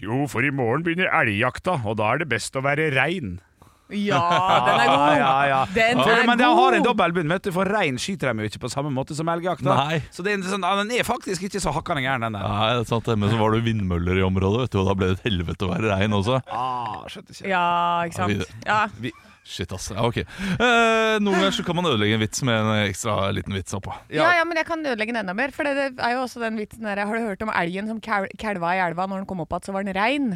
S3: Jo, for i morgen begynner elgjakta, og da er det best å være rein.
S2: Ja, den er god.
S3: Ja, ja, ja.
S2: Den
S3: For,
S2: er
S3: men den
S2: god.
S3: har en dobbel bunn, vet du, for rein skyter dem jo ikke på samme måte som elgjakta.
S4: Nei.
S3: Så det er en sånn, ja, den er faktisk ikke så hakkande gæren, den der.
S4: Nei, det er sant, det. men så var det jo vindmøller i området, vet du, og da ble det et helvete å være rein også.
S3: Ah, skjønte ikke.
S2: Ja, ikke sant. Ja.
S4: Shit, ass. Ja, ok. Eh, noen ganger så kan man ødelegge en vits med en ekstra liten vits oppå.
S3: Ja.
S2: Ja. ja, men jeg kan ødelegge den enda mer. For det, det er jo også den vitsen der Har du hørt om elgen som kal- kalva i elva? Når den kom opp igjen, så var den rein.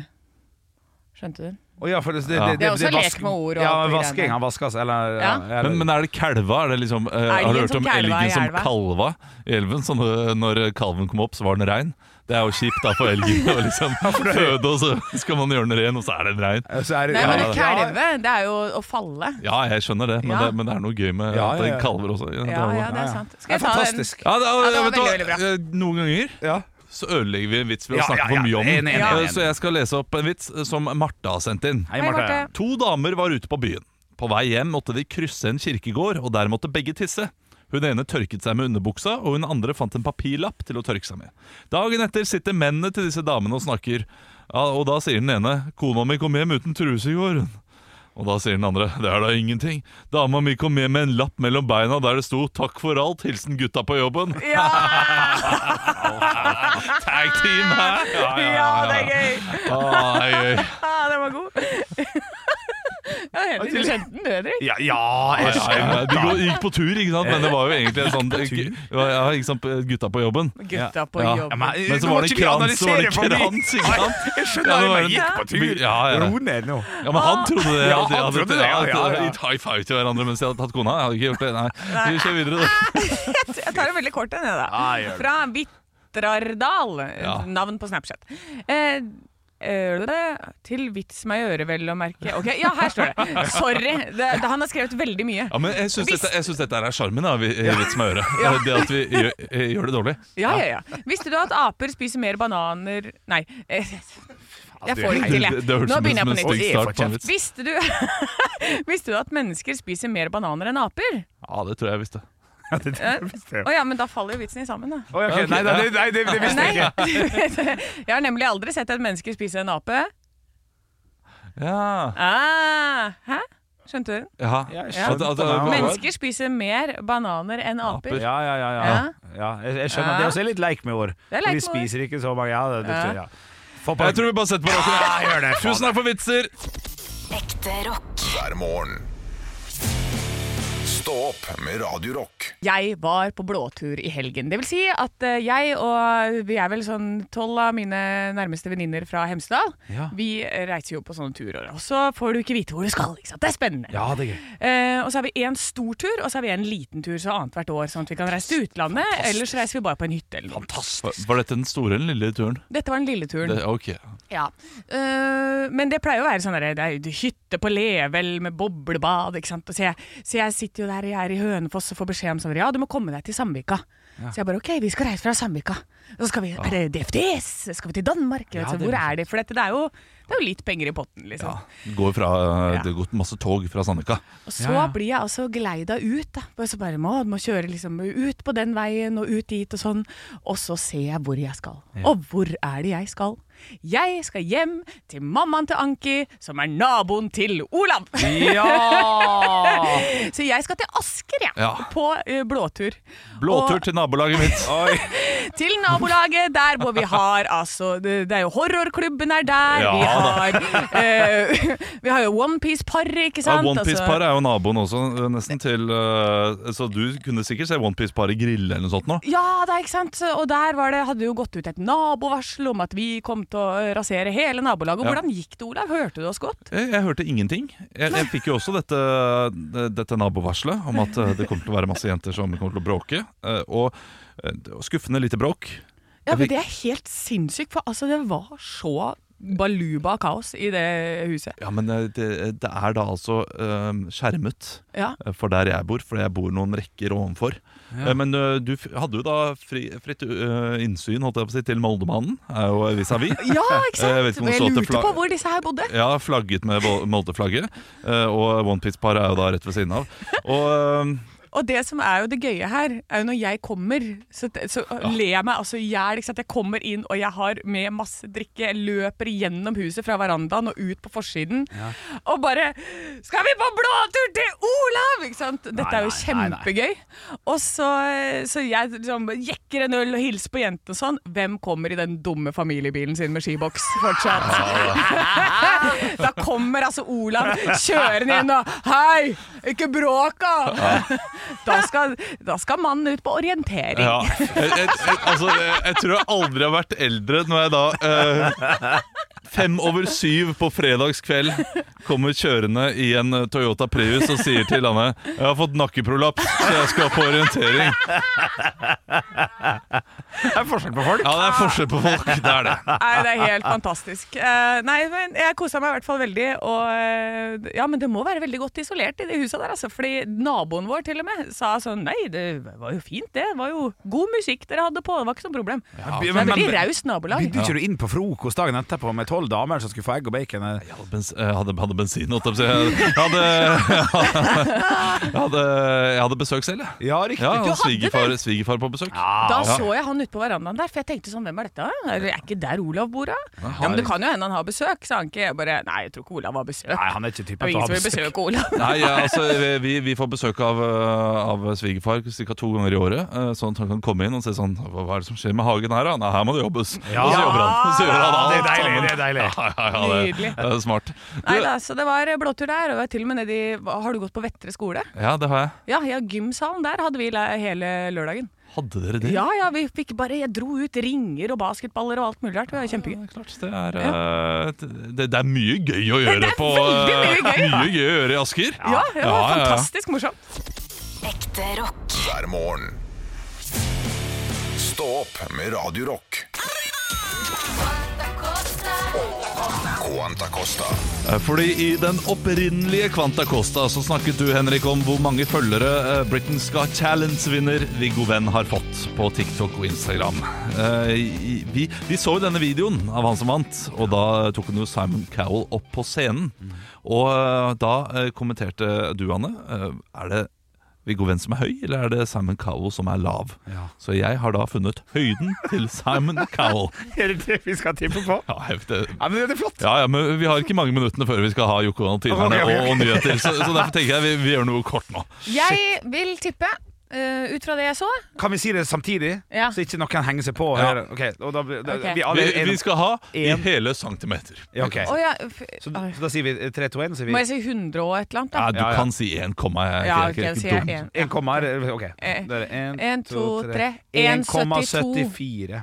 S2: Skjønte du? den?
S3: Å, ja, for det, det,
S4: Ja.
S2: Det er også lek med ord og
S3: Ja,
S2: alt det
S3: vasking.
S2: greiene.
S3: Han vasker seg, eller ja.
S2: Ja.
S3: eller-
S4: Men, men er det kalva? Er det liksom, eh, har du
S2: Elgen
S4: hørt
S2: som
S4: om
S2: kalva i
S4: elgen som
S2: elva?
S4: kalva i elven? Så når, når kalven kom opp, så var den rein. Det er jo kjipt da for elgen å liksom føde, og så skal man gjøre den ren, og så er den rein.
S3: Så er det-
S2: Nei,
S3: ja,
S2: men
S3: ja, ja.
S2: kalve, det er jo å falle.
S4: Ja, jeg skjønner det, men,
S2: Ja.
S4: det, men det er noe gøy
S3: Ja,
S4: med at
S3: ja,
S4: det
S3: ja.
S4: kalver også. Ja, det
S2: Ja,
S4: er jo-
S2: ja, det er
S3: Ja, ja.
S2: sant.
S3: Det er
S2: Skal jeg ta den?
S3: fantastisk.
S4: Ja, da,
S2: det var
S4: vet du hva?
S2: veldig, veldig bra.
S4: Eh, Noen ganger
S3: Ja.
S4: så ødelegger vi en vits ved å
S3: Ja, ja,
S4: snakke
S3: ja.
S4: for mye om den.
S3: Enig, enig,
S4: Eh,
S3: enig.
S4: Så jeg skal lese opp en vits eh, som Martha har sendt inn.
S3: Hei,
S2: Hei,
S3: Marte.
S2: Marte.
S4: To damer var ute på byen. På vei hjem måtte de krysse en kirkegård, og der måtte begge tisse. Hun ene tørket seg med underbuksa, og hun andre fant en papirlapp til å tørke seg med. Dagen etter sitter mennene til disse damene og snakker, ja, og da sier den ene 'Kona mi kom hjem uten truse i går'. Og da sier den andre 'Det er da ingenting'. 'Dama mi kom hjem med en lapp mellom beina der det sto 'Takk for alt. Hilsen gutta på jobben'.
S2: Ja,
S4: Tag team her!
S2: ja, det er gøy!
S4: Ah, gøy.
S2: Ah, den var god. Ja, Henrik, du kjente den, du, Henrik.
S3: Ja, ja jeg
S4: Nei, nei,
S3: skjønner.
S4: de går- gikk på tur, ikke sant? men det var jo egentlig en sånn ja, ikke sant? Gutta på jobben.
S2: Gutta på
S4: Ja.
S2: jobb.
S3: men,
S4: Men så var det
S3: ikke vi
S4: krans, så var
S3: analysere
S4: det
S3: for mye.
S4: krans, ikke sant?
S3: Nei, Jeg
S4: Ja,
S3: skjønner
S4: det
S3: det,
S4: var
S3: men
S4: en-
S3: gikk på tur.
S4: Ja, ja.
S3: Ro ned nå.
S4: Ja, men han trodde det.
S3: Ja,
S4: at de
S3: han
S4: hadde-
S3: trodde det, ja, ja, ja.
S4: Gitt high five til hverandre mens de hadde tatt kona. Jeg hadde ikke gjort det, nei. Vi kjører videre. da.
S2: Jeg tar en veldig kort en, jeg,
S3: Ja, gjør
S2: da.
S3: det.
S2: Fra Vitrardal.
S4: Ja.
S2: Navn på Snapchat. Eh, eh, til vits meg i øret, vel å merke. Ok, Ja, her står det. Sorry. Det, det, han har skrevet veldig mye.
S4: Ja, men jeg syns dette, jeg synes dette er sjarmen, da, vi- i Vits med øret. Det at vi gjør, eh, gjør det dårlig.
S2: Ja, ja, ja. Visste du at aper spiser mer bananer Nei. eh, Jeg får det ikke til,
S4: Det, det
S2: jeg.
S4: hørtes
S2: Nå
S4: ut
S2: begynner jeg på
S4: som en
S2: nytt.
S4: stygg start på en
S3: kjeft.
S4: vits.
S2: Visste du, visste du at mennesker spiser mer bananer enn aper?
S4: Ja, det tror jeg jeg visste.
S2: Eh, Å ja, men da faller jo vitsen i sammen, da.
S3: Oi, ok,
S4: Ja, ok,
S3: Nei, nei,
S4: ja.
S3: nei, nei, det, det visste jeg
S2: Nei,
S3: ikke.
S2: jeg har nemlig aldri sett et menneske spise en ape.
S4: Ja,
S2: Ah, hæ? Skjønte du den?
S4: ja.
S3: Ja, jeg
S4: At- at-
S3: skjønner.
S4: at-
S2: Mennesker spiser mer bananer enn aper.
S4: Aper.
S3: Ja, ja, ja. ja. ja jeg, jeg skjønner. Det er også litt leik med ord.
S2: Det er leik
S3: Vi
S2: med ord.
S3: spiser ikke så mange. Ja, det, det,
S2: Ja.
S3: ja. Få på-
S4: Jeg tror vi bare setter på
S3: Ja,
S4: dere.
S3: gjør det. faen.
S4: Tusen takk for vitser!
S5: Ekte rock.
S1: hver morgen. Stå opp med Radio Rock.
S2: Jeg var på blåtur i helgen. Det vil si at eh, jeg og vi er vel sånn tolv av mine nærmeste venninner fra Hemsedal.
S3: Ja.
S2: Vi reiser jo på sånne turer, og så får du ikke vite hvor du skal. Ikke sant? Det er spennende.
S3: Ja, det er gøy.
S2: Eh, og så har vi en stor tur, og så har vi en liten tur så annethvert år, sånn at vi kan reise til utlandet. Ellers reiser vi bare på en hytte eller noe.
S4: Var- Var dette den store eller den lille turen?
S2: Dette var den lille turen.
S4: Det, ok.
S2: Ja. Eh, men det pleier å være sånn der, det er jo hytte på Level med boblebad. ikke sant? Og så, jeg, så jeg sitter jo der jeg er i Hønefoss og får beskjed om sånn, ja, du må komme deg til Sandvika. Så jeg bare OK, vi skal reise fra Sandvika. Så skal vi, Er det DFDS? Skal vi til Danmark? Jeg vet
S3: Ja,
S2: ikke,
S3: det
S2: hvor
S3: blir
S2: er det? For dette, det er jo det er jo litt penger i potten, liksom.
S4: Det går fra, det har gått masse tog fra Sandvika.
S2: Og så
S3: Ja, ja.
S2: blir jeg altså geleida ut. da. Og så bare må, må kjøre liksom ut på den veien og ut dit og sånn. Og så ser jeg hvor jeg skal. Og hvor er det jeg skal? Jeg skal hjem til mammaen til Anki, som er naboen til Olav.
S3: Ja!
S2: Så jeg skal til Asker, jeg.
S4: Ja.
S2: På eh, blåtur.
S4: Blåtur
S2: Og-
S4: til nabolaget mitt.
S3: Oi.
S2: til nabolaget, der hvor vi har altså Det det er jo horrorklubben er der.
S4: Ja,
S2: vi,
S4: da.
S2: har, eh, vi har jo OnePiece-paret, ikke
S4: Ja,
S2: sant?
S4: OnePiece-par er jo naboen også, eh, nesten til eh, Så du kunne sikkert se OnePiece-paret grille eller noe sånt nå.
S2: Ja da, ikke sant. Og der var det, hadde det jo gått ut et nabovarsel om at vi kom til å rasere hele nabolaget.
S4: Ja.
S2: Hvordan gikk det, Olav? Hørte du oss godt?
S4: Jeg, jeg hørte ingenting. Jeg, jeg fikk jo også dette, det- dette nabovarselet om at eh, det kommer til å være masse jenter som kommer til å bråke. eh, Og eh, og skuffende lite bråk.
S2: Ja,
S4: Jeg
S2: men
S4: fikk-
S2: Det er helt sinnssykt, for altså, det var så baluba kaos i det huset.
S4: Ja, men eh, det, det er da altså eh, skjermet
S2: Ja.
S4: eh, for der jeg bor, for jeg bor noen rekker ovenfor. Eh, Men eh, du f- hadde jo da fri, fritt eh, innsyn holdt jeg på å si, til Moldemannen, er jo vis-à-vis.
S2: Ja, ikke sant?
S4: Jeg vet ikke om
S2: Og jeg
S4: det står til
S2: lurte
S4: flagg-
S2: på hvor disse her bodde.
S4: Ja, flagget med Vol- Molde-flagget. eh, Og OnePiece-paret er jo da rett ved siden av. Og eh,
S2: Og det som er jo det gøye her, er jo når jeg kommer, så, så ler jeg meg altså i hjel. ikke sant? Jeg kommer inn, og jeg har med masse drikke. Jeg løper gjennom huset fra verandaen og ut på forsiden. Og bare 'Skal vi på blåtur til Olav?!' ikke sant? Dette er jo
S3: Nei, nei, nei, nei.
S2: kjempegøy. Og så, så jeg liksom jekker en øl og hilser på jentene og sånn. Hvem kommer i den dumme familiebilen sin med skiboks fortsatt? da kommer altså Olav kjørende inn og 'Hei, ikke bråk, da!' Da skal, da skal mannen ut på orientering.
S4: ja, jeg, jeg, jeg, altså, jeg, jeg tror jeg aldri har vært eldre når jeg da eh, Fem over syv på fredagskveld kommer kjørende i en eh, Toyota Prius og sier til Anne 'Jeg har fått nakkeprolaps, så jeg skal på orientering'.
S3: Det er forskjell på folk.
S4: Ja, det er forskjell på folk. Det er det.
S2: Nei, det er helt fantastisk. Eh, nei, men jeg kosa meg i hvert fall veldig. Og, eh, ja, men det må være veldig godt isolert i det huset der, altså. Fordi naboen vår til og med sa sånn Nei, det var jo fint, det. Det var jo god musikk dere hadde på. Det var ikke noe problem. Så det er
S3: men-
S2: veldig
S3: men-
S2: raust nabolag.
S3: Bydde ikke du inn på frokost dagen etterpå med tolv damer som skulle få egg og bacon?
S4: Jeg hadde, bens jeg hadde, hadde bensin, holdt jeg på å si. Jeg hadde, jeg hadde, jeg hadde besøk selv, jeg.
S3: Ja, Ah, riktig.
S4: Ja,
S2: Du
S4: og
S2: hadde
S4: svigerfar, svigerfar på besøk.
S2: Da
S4: ja.
S2: så jeg han ute på verandaen der, for jeg tenkte sånn, hvem er dette? Er er ikke der Olav bor, da? Ja, men det kan jo hende han har besøk, sa han ikke. Jeg bare, nei, jeg tror ikke Olav har besøk.
S3: Nei, han er ikke
S2: det
S3: typen
S2: er jo
S3: til å
S2: ingen
S3: ha
S2: som vil
S3: besøk.
S2: besøke Olav.
S4: Nei, ja, altså, vi, vi får besøk av, eh, av svigerfar ca. to ganger i året. eh, Sånn at han kan komme inn og se sånn Hva hva er det som skjer med hagen her, da? Nei, her må det jobbes.
S3: Ja.
S4: Og så jobber han. Og så gjør han
S3: Ja, det er
S4: alt
S3: deilig,
S4: sammen.
S3: det er deilig.
S4: Ja, ja, ja, det,
S2: Nydelig.
S4: det er smart.
S2: Nei
S4: Du,
S2: da, så det var eh, blåtur der, og jeg var til og med nedi Har du gått på Vettre skole?
S4: ja, det har jeg.
S2: Ja, ja, gymsalen der hadde vi le- hele lørdagen.
S4: Hadde dere det?
S2: Ja, ja, vi fikk bare Jeg dro ut ringer og basketballer og alt mulig rart. Det var
S4: Ja,
S2: kjempegøy.
S4: det er klart. Det er, eh, det, det er mye gøy å gjøre på eh,
S2: veldig mye gøy, da.
S4: Mye gøy å gjøre i Asker.
S2: Ja, det var
S4: ja, ja.
S2: fantastisk morsomt.
S5: Ekte rock.
S1: hver morgen. Stå opp med Radio Rock. Quanta Costa.
S4: Eh, Fordi i den opprinnelige Quanta Costa så snakket du, Henrik, om hvor mange følgere eh, Britain's Got Challenge-vinner Viggo Venn har fått på TikTok og Instagram. Eh, i- Vi, vi så jo denne videoen av han som vant, og da tok han jo Simon Cowell opp på scenen. Og eh, da eh, kommenterte du, Anne, eh, er det Viggo Venn som er høy, eller er det Simon Cowell som er lav? Så jeg har da funnet høyden til Simon Cowell.
S3: Er det det vi skal tippe på?
S4: Ja, jeg vet det-
S3: Ja, men det er flott.
S4: ja, ja, men Vi har ikke mange minuttene før vi skal ha Joko og Tinerne
S3: Ok, ok, ok.
S4: og, og nyheter. Så, så derfor tenker jeg vi, vi gjør noe kort nå.
S2: Jeg vil tippe, eh, ut fra det jeg så
S3: Kan vi si det samtidig,
S2: Ja.
S3: så ikke noen henger seg på?
S4: Ja.
S3: Her. Ok, og da, blir- da,
S2: Ok.
S3: Vi alle
S4: Vi,
S3: er
S4: vi skal ha i
S3: En.
S4: hele centimeter.
S3: ja, ok.
S2: Å ja, f
S3: så, så da sier vi eh, 3, 2, 1, så sier
S2: Må
S3: vi
S2: jeg si 100 og et eller annet,
S4: Ja,
S2: da?
S4: du
S3: Ja, ja.
S4: kan si én komma. Jeg,
S2: Ja,
S4: jeg,
S2: ok,
S4: er ikke-
S2: sier
S4: jeg, er ikke
S2: jeg
S4: dum.
S2: en.
S3: 1, komma her, eh, ok.
S2: Eh,
S3: Da er det en,
S2: en, to, tre.
S3: 1,74.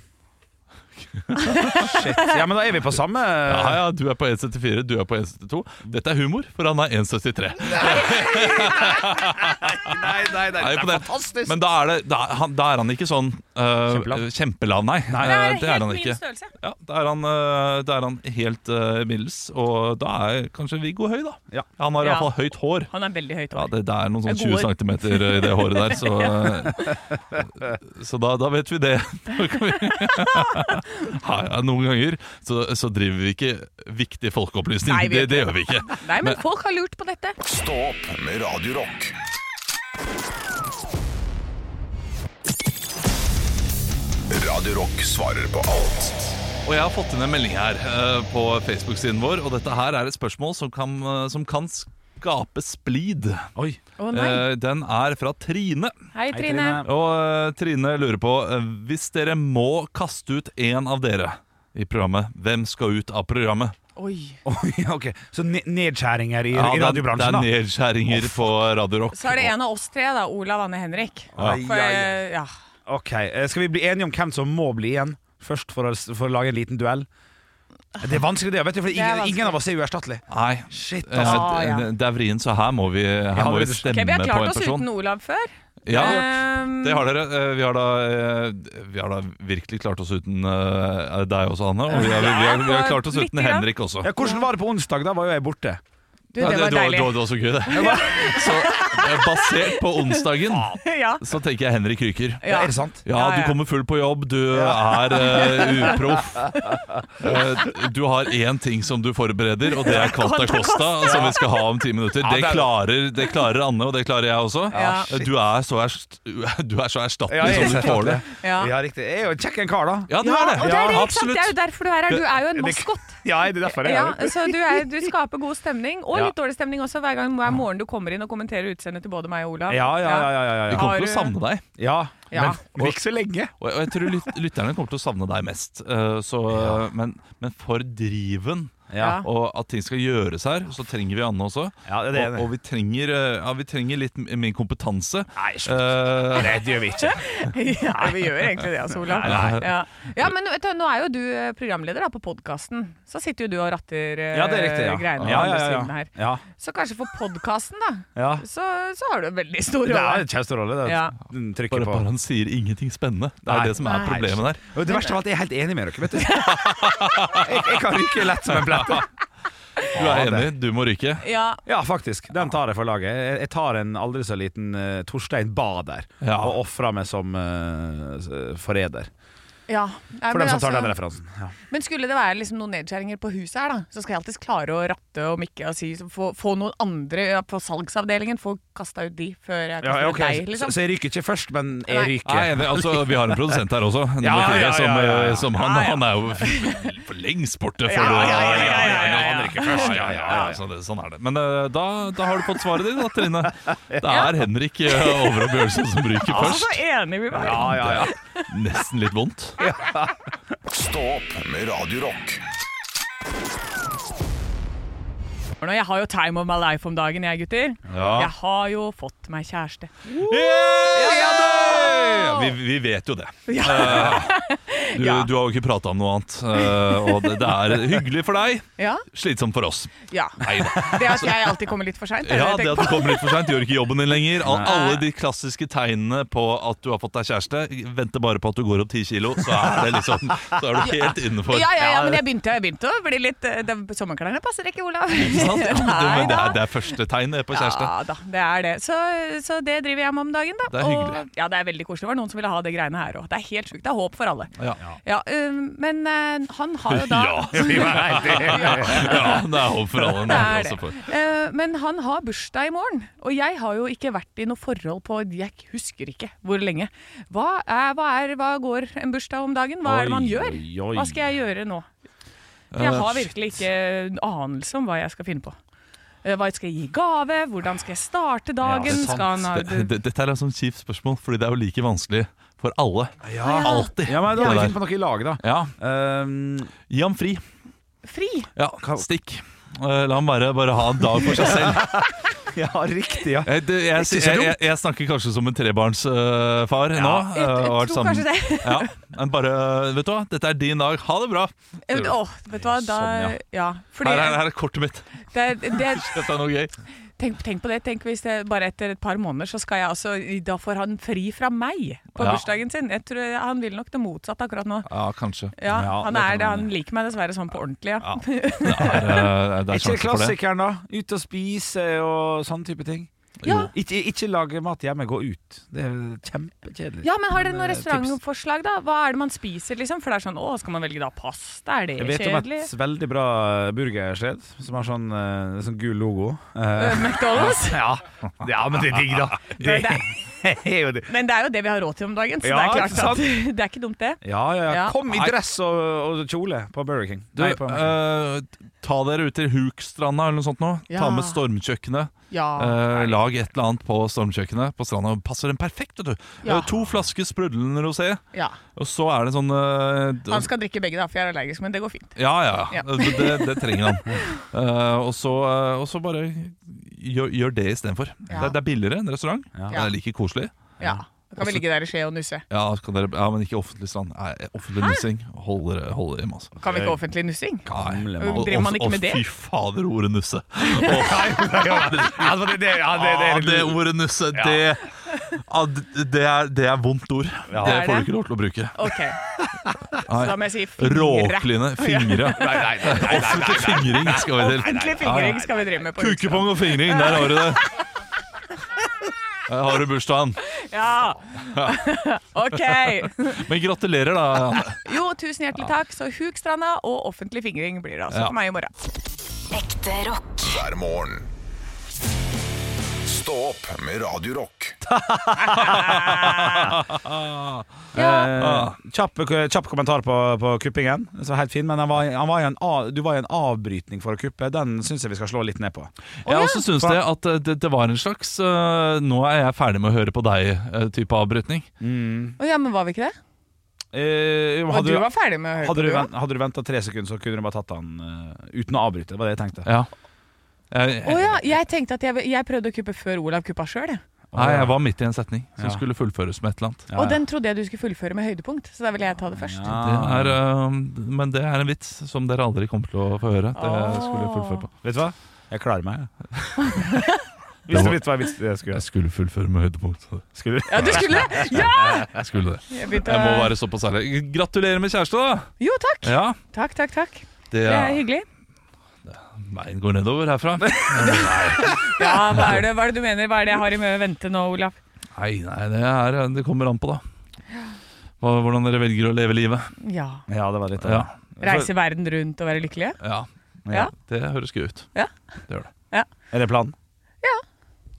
S3: Shit. Ja, men da er vi på samme
S4: Ja, ja, du er på 1,74, du er på 1,72. Dette er humor, for han er 1,73.
S3: Nei, nei, nei,
S4: Nei,
S3: det
S4: på
S3: er
S4: det.
S3: fantastisk!
S4: Men da er, det, da, er han, da er han ikke sånn øh,
S3: Kjempelav.
S4: kjempelav, nei.
S2: Det
S4: Øh,
S2: er
S4: det er
S2: helt
S4: han
S2: min
S4: ikke.
S2: størrelse.
S4: Ja, da er han, øh, da er han helt øh, middels, og da er kanskje Viggo høy, da.
S3: Ja.
S4: Han har
S2: Ja.
S4: iallfall høyt hår.
S2: Han er veldig høyt
S4: Ja,
S2: over.
S4: det, det er noen sånn
S2: Det er
S4: 20 cm i det håret der, så, så da, da vet vi det. Da kan vi- Ja, ja, noen ganger så, så driver vi ikke viktig folkeopplysning.
S2: Nei, vi
S4: det,
S2: gjør
S4: det
S2: ikke
S4: gjør vi ikke.
S2: Nei, men folk har lurt på dette.
S1: Stå opp med Radio Rock. Radio Rock svarer på alt.
S4: Og jeg har fått inn en melding her eh, på Facebook-siden vår, og dette her er et spørsmål som kan, eh, som kan skape splid.
S3: Oi.
S2: Å nei.
S4: Eh, den er fra Trine.
S2: Hei,
S3: Hei,
S2: Trine.
S4: Og eh, Trine lurer på eh, Hvis dere må kaste ut en av dere i programmet, hvem skal ut av programmet?
S2: Oi.
S3: Oi, ok. Så ne nedskjæringer i, i
S4: det er-
S3: radiobransjen, da.
S4: Det er nedskjæringer på Radio Rock.
S2: Så er det en av oss tre, da. Olav, Anne, Henrik.
S3: Ai,
S2: For,
S3: ai, ai.
S2: eh, ja.
S3: Ok, eh, Skal vi bli enige om hvem som må bli igjen? Først for å, for å lage en liten duell? Det er vanskelig, det. Vet du, for
S2: er
S3: ingen,
S2: vanskelig.
S3: ingen av oss er uerstattelig.
S4: Nei,
S3: Shit,
S4: eh,
S3: altså.
S2: Ah, ja.
S4: det- det er vrient, så her må vi, her må
S3: det
S4: vi
S3: er-
S4: stemme
S2: Ok, vi har
S4: på
S2: klart
S4: en
S2: oss
S4: person.
S2: uten Olav før.
S4: Ja,
S2: Ehm,
S4: det har dere. Eh, Vi har da, eh, vi har da virkelig klart oss uten eh, deg også, Anne. Og vi har, vi har, vi har klart oss
S2: Litt
S4: uten
S2: grann.
S4: Henrik også.
S3: Ja, hvordan var det på onsdag? Da var jo jeg borte.
S2: du, det
S4: Ja,
S2: var
S4: det,
S2: deilig.
S4: var, det var også gøy, det. Så eh, basert på onsdagen
S2: ja.
S4: så tenker jeg Henrik ryker.
S3: Ja.
S2: Ja.
S3: Er det sant?
S4: Ja,
S2: Ja,
S4: du
S2: ja.
S4: kommer full på jobb, du er eh, uproff. Eh, du har én ting som du forbereder, og det er Quanta Costa, som vi skal ha om ti minutter.
S3: det
S4: Det
S3: er-
S4: klarer, det klarer Anne, og det klarer jeg også.
S2: Ja.
S4: Eh, Du er så, erst, du er så erstattelig
S3: Ja, jeg er
S4: som du
S3: erstattelig.
S4: tåler.
S2: Ja.
S3: Ja, riktig. Jeg er jo en kjekk en kar, da.
S4: Ja, du er det.
S2: Og det er, det, ikke sant?
S4: absolutt.
S2: det er jo derfor du er her. Du er jo en
S3: Det-
S2: maskot.
S3: Ja, det er derfor jeg
S2: Ja,
S3: er her.
S2: så du, er, du skaper god stemning, og
S3: Ja.
S2: litt dårlig stemning også, hver gang hver morgen du kommer inn og kommenterer utseendet til både meg og Olav.
S3: Ja, ja, ja. ja, ja,
S4: Vi
S3: ja.
S4: kommer til å
S2: Har du-
S4: savne deg,
S3: ja.
S2: Ja.
S3: Men ikke så lenge.
S4: og jeg, og jeg tror lyt- lytterne kommer til å savne deg mest. Eh, Så, men, men for driven
S3: Ja.
S2: Ja.
S4: og at ting skal gjøres her, så trenger vi Anne også.
S3: Ja, det er det.
S4: og, og vi trenger, eh, ja, vi trenger litt m- min kompetanse.
S3: Nei, slutt.
S4: Eh,
S3: Nei, det gjør vi ikke.
S2: Ja, vi gjør egentlig det, altså, Olav.
S4: Nei, nei.
S2: Ja. ja, men vet du, nå er jo du eh, programleder da, på podkasten. Så sitter jo du og ratter eh,
S3: Ja, det er riktig. Ja,
S2: greiene
S3: ja,
S2: på
S3: ja.
S2: andre
S3: ja,
S2: siden her.
S3: ja.
S2: Så kanskje for podkasten, da,
S3: ja.
S2: så, så har du en veldig stor
S3: Det er
S2: rolle.
S3: en kjemperolle. Det
S2: Ja.
S3: Den trykker
S4: bare,
S3: på.
S4: bare han sier ingenting spennende. Det er
S3: Nei.
S4: det som er
S2: Nei.
S4: problemet der.
S3: Og det verste av alt, jeg er helt enig med dere, vet du. Jeg, jeg kan ryke lett som en plett.
S4: Du er enig, du må ryke.
S2: Ja,
S3: Ja, faktisk. Den tar jeg for laget. Jeg- Jeg tar en aldri så liten eh, Torstein Bader
S4: Ja.
S3: og ofrer meg som eh, s- forræder.
S8: Ja. Nei,
S3: For
S8: men
S3: dem som tar
S8: altså-
S3: den referansen. Ja.
S2: Men skulle det være liksom noen nedskjæringer på huset her, da, så skal jeg alltids klare å ratte og mikke og si, få, få noen andre ja, på salgsavdelingen, få kasta ut de før jeg kaster
S3: Ja,
S2: ut
S3: ok,
S2: deg,
S3: så,
S2: liksom.
S3: så jeg ryker ikke først, men jeg
S2: Nei.
S3: ryker.
S4: Nei, det, altså, vi har en produsent her også, nummer
S3: Ja, ja,
S4: fire,
S3: ja,
S4: som,
S3: ja, ja, ja.
S4: eh, som han,
S3: Ja, ja.
S4: han er jo for- for lengst borte før
S3: ja, ja,
S4: det
S3: ja, ja, ja, ja.
S4: Han rykker først. Ja, ja, ja, så det, sånn er det. Men eh, da, da har du fått svaret ditt, da, Trine. Det er Henrik eh, Over og Bjørnson som ryker
S2: Ja,
S4: først.
S2: så enige vi var.
S3: Ja, ja, ja.
S4: Nesten litt vondt.
S1: Stå opp med Radio Rock.
S2: Nå, Jeg har jo time of my life om dagen, jeg, gutter. Jeg har jo fått meg kjæreste.
S4: Ja, Vi, vi vet jo det. Eh, du,
S2: Ja.
S4: du har jo ikke prata om noe annet. eh, og det, det er hyggelig for deg,
S2: Ja,
S4: slitsomt for oss.
S2: ja. Det at jeg alltid kommer litt for seint.
S4: Ja, Det at du kommer litt for seint, gjør ikke jobben din lenger. Al alle de klassiske tegnene på at du har fått deg kjæreste, venter bare på at du går opp ti kilo, så er, det liksom, så er du helt innenfor.
S2: ja, ja, ja, men jeg begynte, jeg begynte å bli litt eh, det- Sommerklærne passer ikke, Olav.
S4: Ikke sant? Ja, men det, men det,
S2: Nei
S4: er, det er første tegnet på kjæreste.
S2: Ja da, det er det. Så, så det driver jeg med om dagen, da.
S4: Det er hyggelig.
S2: Og, ja, det er veldig koselig. Det var noen som ville ha det greiene her òg. Det er helt sjukt. Det er håp for alle.
S4: Ja.
S2: Ja, øhm, men eh, han har jo da
S4: Ja, Ja, det er håp for alle.
S2: Det
S4: Nei,
S2: er
S4: altså,
S2: det.
S4: for.
S2: Eh, Men han har bursdag i morgen, og jeg har jo ikke vært i noe forhold på Jeg husker ikke hvor lenge. Hva, er, hva, er, hva går en bursdag om dagen? Hva er det man
S3: Oi,
S2: gjør?
S3: oi, oi.
S2: Hva skal jeg gjøre nå? For jeg
S4: Eh,
S2: har virkelig ikke anelse om hva jeg skal finne på. Eh, Hva skal jeg gi i gave? Hvordan skal jeg starte
S4: Det
S2: dagen?
S4: er
S2: skal han ha
S4: sant. Det- det- Dette er altså et sånt kjipt spørsmål, Fordi det er jo like vanskelig for alle. Alltid.
S3: Ja, men da må
S4: Det
S3: vi
S4: der.
S3: finne på noe i lag, da.
S4: Ja,
S3: Um,
S4: Gi ham fri.
S2: fri?
S4: Ja, Stikk. Eh, La ham være, bare ha en dag for seg selv.
S3: ja, riktig, ja.
S4: Jeg, det- jeg,
S3: Ikke
S4: jeg,
S3: så dumt.
S4: jeg, jeg snakker kanskje som en trebarnsfar nå.
S3: Ja,
S4: eh, og har vært
S2: tror kanskje det.
S4: ja, men bare, vet du hva, dette er din dag. Ha det bra.
S2: Eh, Åh, vet du hva, da
S3: Sånn, ja.
S2: Ja. Fordi
S4: Her, er- her er kortet mitt.
S2: det, det,
S4: Dette er noe gøy.
S2: tenk, tenk på det. Tenk hvis det bare etter et par måneder, så skal jeg altså Da får han fri fra meg på
S4: Ja.
S2: bursdagen sin. Jeg tror Han vil nok det motsatte akkurat nå.
S4: Ja, kanskje.
S2: Ja,
S3: Ja,
S2: han,
S3: det
S2: er,
S3: kan
S2: det,
S3: hende.
S2: han liker meg dessverre sånn på ordentlig, ja.
S4: Det er, eh, det
S3: Er
S4: er
S3: ikke det
S4: sjanse for det.
S3: klassikeren, da? Ute og spise og sånn type ting.
S2: Ja.
S3: Ikke, ikke lage mat hjemme, gå ut. Det er kjempekjedelig.
S2: Ja, men Har dere noen
S3: Men, eh, tips.
S2: restaurantforslag? da? Hva er det man spiser? liksom? For det er sånn, å, Skal man velge da pasta? Er det
S3: Jeg vet om
S2: kjedelig?
S3: et veldig bra eh, burgersted som har sånn, eh, sånn gul logo. Eh,
S2: Øh, McDonald's?
S3: ja. ja, men det er digg, da. Det
S2: Det er-
S3: er jo det.
S2: Men det er jo det vi har råd til om dagen, så
S3: Ja,
S2: det er
S3: ikke sant?
S2: klart at det er ikke dumt, det.
S3: Ja, ja, ja.
S2: Ja.
S3: Kom i dress og, og kjole på Burger King.
S4: Du,
S3: Nei, på Mac.
S4: eh, ta dere ut til Hukstranda eller noe sånt nå.
S2: Ja. Ah,
S4: Ta med stormkjøkkenet.
S2: Ja.
S4: Eh, lag et eller annet på stormkjøkkenet på stranda. Passer den perfekt, vet du.
S2: Ja.
S4: Eh, to flasker sprudlende rosé,
S2: ja.
S4: og så er det sånn eh,
S2: Han skal drikke begge, da, for jeg er allergisk, men det går fint.
S4: Ja, ja.
S2: Ja.
S4: Det, det- det trenger han. Eh, og, så, eh, og så bare gjør, gjør det istedenfor.
S2: Ja.
S4: Det, det er billigere enn restaurant. Det
S2: Ja.
S4: er like koselig.
S2: Ja. Da kan vi
S3: Altså-
S4: Også-
S2: ligge der i skje og nusse.
S4: Ja, så kan dere, ja men ikke offentlig strand. Nei, offentlig nussing. Hold dere hold dere hjemme, altså.
S2: Kan
S3: Eh,
S2: vi ikke offentlig nussing?
S4: Nei.
S3: Gamle mann.
S4: Og-
S2: Driver man ikke
S4: og-
S2: med det?
S4: Og fy fader, ordet nusse.
S3: Ja, det, det, ja, det, det,
S4: Ah,
S3: det,
S4: det ordet nusse, det, ah, det, det, er, det er vondt ord.
S2: Det
S4: Det
S2: er
S4: får du
S2: det.
S4: ikke lov til å bruke.
S2: Ok, så da
S4: Nei.
S2: må jeg si fingre.
S4: Råkline fingre.
S3: Nei, nei, nei, nei, nei, nei.
S4: Offentlig fingring skal vi til.
S2: Ordentlig fingring skal vi drive med på Hukstrand.
S4: Kukepong og fingring, der har du det. Der har du bursdagen.
S2: Ja! Ok.
S4: Men gratulerer, da. Anne.
S2: Jo, tusen hjertelig takk. Så Hukstranda og offentlig fingring blir det altså
S4: Ja.
S2: for meg i morgen.
S5: Ekte rock.
S1: hver morgen. Stå opp med Radio Rock.
S4: ah.
S3: Eh, kjapp, kjapp kommentar på, på kuppingen. Så helt fin, men han var, han var i en, av- du var i en avbrytning for å kuppe. Den syns jeg vi skal slå litt ned på.
S4: Jeg også syns det at eh, det, det var en slags eh, 'nå er jeg ferdig med å høre på deg'-type avbrytning.
S2: Å ja, men var vi ikke det?
S3: Eh,
S2: Og
S3: hadde,
S2: du
S3: du,
S2: var ferdig med å høre
S3: hadde,
S2: på
S3: du
S2: det,
S3: vent, hadde du venta tre sekunder, så kunne du bare tatt han eh, uten å avbryte. Det var det jeg tenkte.
S4: Ja. Jeg,
S2: Å ja, jeg tenkte at jeg, jeg prøvde å kuppe før Olav kuppa sjøl, jeg.
S4: nei, jeg var midt i en setning som
S3: Ja.
S4: skulle fullføres med et eller annet.
S3: Ja,
S2: Og
S3: ja.
S2: den trodde jeg du skulle fullføre med høydepunkt, så da ville jeg ta det først.
S4: Det
S3: Ah.
S4: er, eh, men det er en vits som dere aldri kommer til å få høre. Det skulle jeg fullføre på.
S3: Vet du hva? Jeg klarer meg. jeg. Hvis du vet hva vits jeg skulle
S4: Jeg skulle fullføre med høydepunkt.
S3: Skulle
S2: Ja, du skulle det? Ja!
S4: Jeg skulle det.
S2: Jeg begynte
S4: Jeg må
S2: å
S4: være såpass ærlig. Gratulerer med kjæreste, da!
S2: Jo, takk.
S4: Ja,
S2: Takk, takk, takk.
S4: det
S2: Det er hyggelig.
S4: Veien går nedover herfra.
S2: Ja, hva er det, hva er det du mener? Hva er det jeg har i mø- vente nå, Olav?
S4: Nei, nei, det, er, det kommer an på, da. hva, hvordan dere velger å leve livet.
S2: Ja.
S3: Ja, det var litt av
S4: Ja,
S3: det.
S2: Reise verden rundt og være lykkelige?
S4: ja.
S2: Ja.
S4: Det høres gøy ut.
S2: Ja.
S4: Det gjør det.
S3: Er det planen?
S2: Ja.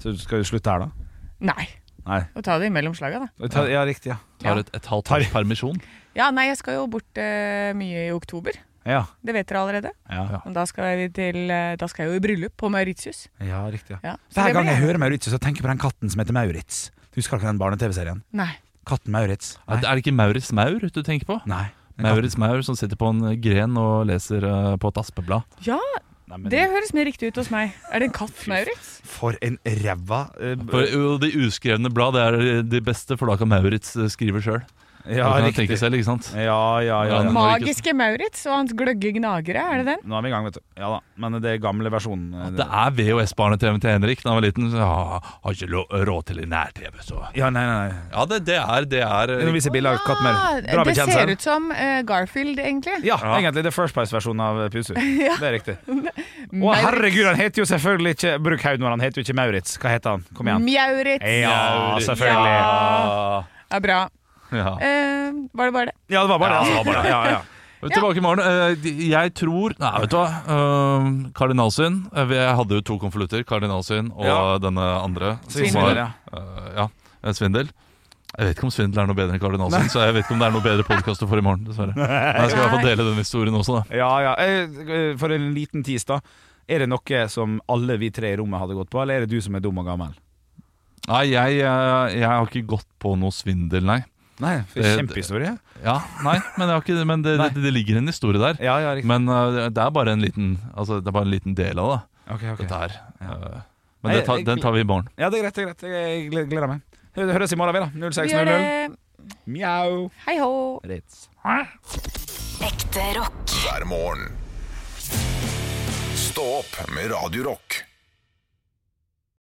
S3: Så skal vi slutte her, da?
S2: Nei.
S3: Nei.
S2: Og ta det imellom slaga, da.
S3: Ta- Ja, riktig, ja.
S4: Tar
S2: Ja.
S4: et, et halvt års permisjon.
S2: Ja, nei, jeg skal jo bort eh, mye i oktober.
S3: Ja,
S2: Det vet dere allerede.
S3: ja.
S2: Men da skal jeg, til, eh, da skal jeg jo i bryllup på Mauritius.
S3: ja riktig. Ja.
S2: Ja. Så
S3: Hver
S2: det
S3: gang
S2: blir-
S3: jeg hører Mauritius, så tenker jeg på den katten som heter Maurits. Du husker ikke den barne-TV-serien?
S2: Nei.
S3: Katten Maurits.
S4: Er det- er det ikke Maurits Maur du tenker på?
S3: Nei. Den katten-
S4: Maurits Maur som sitter på en eh, gren og leser eh, på et aspeblad.
S2: Ja,
S3: Nei, men-
S2: det høres mer riktig ut hos meg. Er det en katt, Maurits?
S3: For en ræva eh, b-
S4: For jo, De uskrevne blad det er de beste, for da kan Maurits eh, skrive sjøl.
S3: Ja, riktig.
S4: Selv, ikke sant?
S3: Ja, ja, ja, ja.
S4: Men Maurits-
S2: Magiske Maurits og hans gløgge gnagere, er det den?
S3: Nå er vi i gang, vet du. Ja da. Men det er gamle versjonen. eh,
S4: Det er VHS-barne-TV til Henrik da han var liten. Så ja, har ikke lo- råd til nær-TV, så
S3: Ja, nei, nei. nei.
S4: Ja, det, det er, det er
S3: Nå viser bildet av katten Maurits. Bra
S2: Ah, det
S3: bekjent,
S2: ser
S3: her.
S2: ut som eh, Garfield, egentlig.
S3: Ja, egentlig. Det er First Price-versjonen av Pusu. Det er riktig. Å,
S2: Maurits.
S3: herregud, han heter jo selvfølgelig ikke Brukhaug når han heter jo ikke Maurits. Hva heter han? Kom igjen.
S2: Mjaurits.
S3: Ja, selvfølgelig.
S2: Ja. Ja, bra.
S4: ja.
S2: Eh, var det bare det?
S3: Ja, det var bare det.
S4: Ja,
S3: altså. Ja, ja.
S4: Tilbake i morgen. Eh, de- Jeg tror Nei, vet du hva. Eh, Kardinalsyn. Eh, vi- Jeg hadde jo to konvolutter. Kardinalsyn og
S3: Ja.
S4: denne andre. som
S3: Svindel,
S4: var- eh, ja. eh, Svindel. Jeg vet ikke om svindel er noe bedre enn kardinalsyn, så jeg vet ikke om det er noe bedre podkast du får i morgen, dessverre. Men jeg skal i hvert fall dele den historien også, da.
S3: Ja, ja. Eh, For en liten tis, da. Er det noe som alle vi tre i rommet hadde gått på, eller er det du som er dum og gammel?
S4: Nei, jeg, eh, jeg har ikke gått på noe svindel, nei.
S3: Nei, for
S4: Det-
S3: kjempehistorie.
S4: Ja, nei, men, jeg har ikke, men det,
S3: Nei.
S4: det, det ligger en historie der.
S3: Ja, ja, riktig.
S4: Men eh, det er bare en liten Altså, det er bare en liten del av det,
S3: Ok, ok.
S4: dette her. Eh,
S3: Nei,
S4: men det tar,
S3: jeg-
S4: den tar vi i morgen.
S3: Ja, det er greit. det er greit Jeg gleder- gleder meg. Hø- Høres i morgen, vi, da.
S2: Vi gjør
S3: 06.00.
S2: det.
S3: Mjau.
S2: Hei hå.
S3: Ritz.
S5: Ekte rock.
S1: hver morgen. Stå opp med Radio Rock.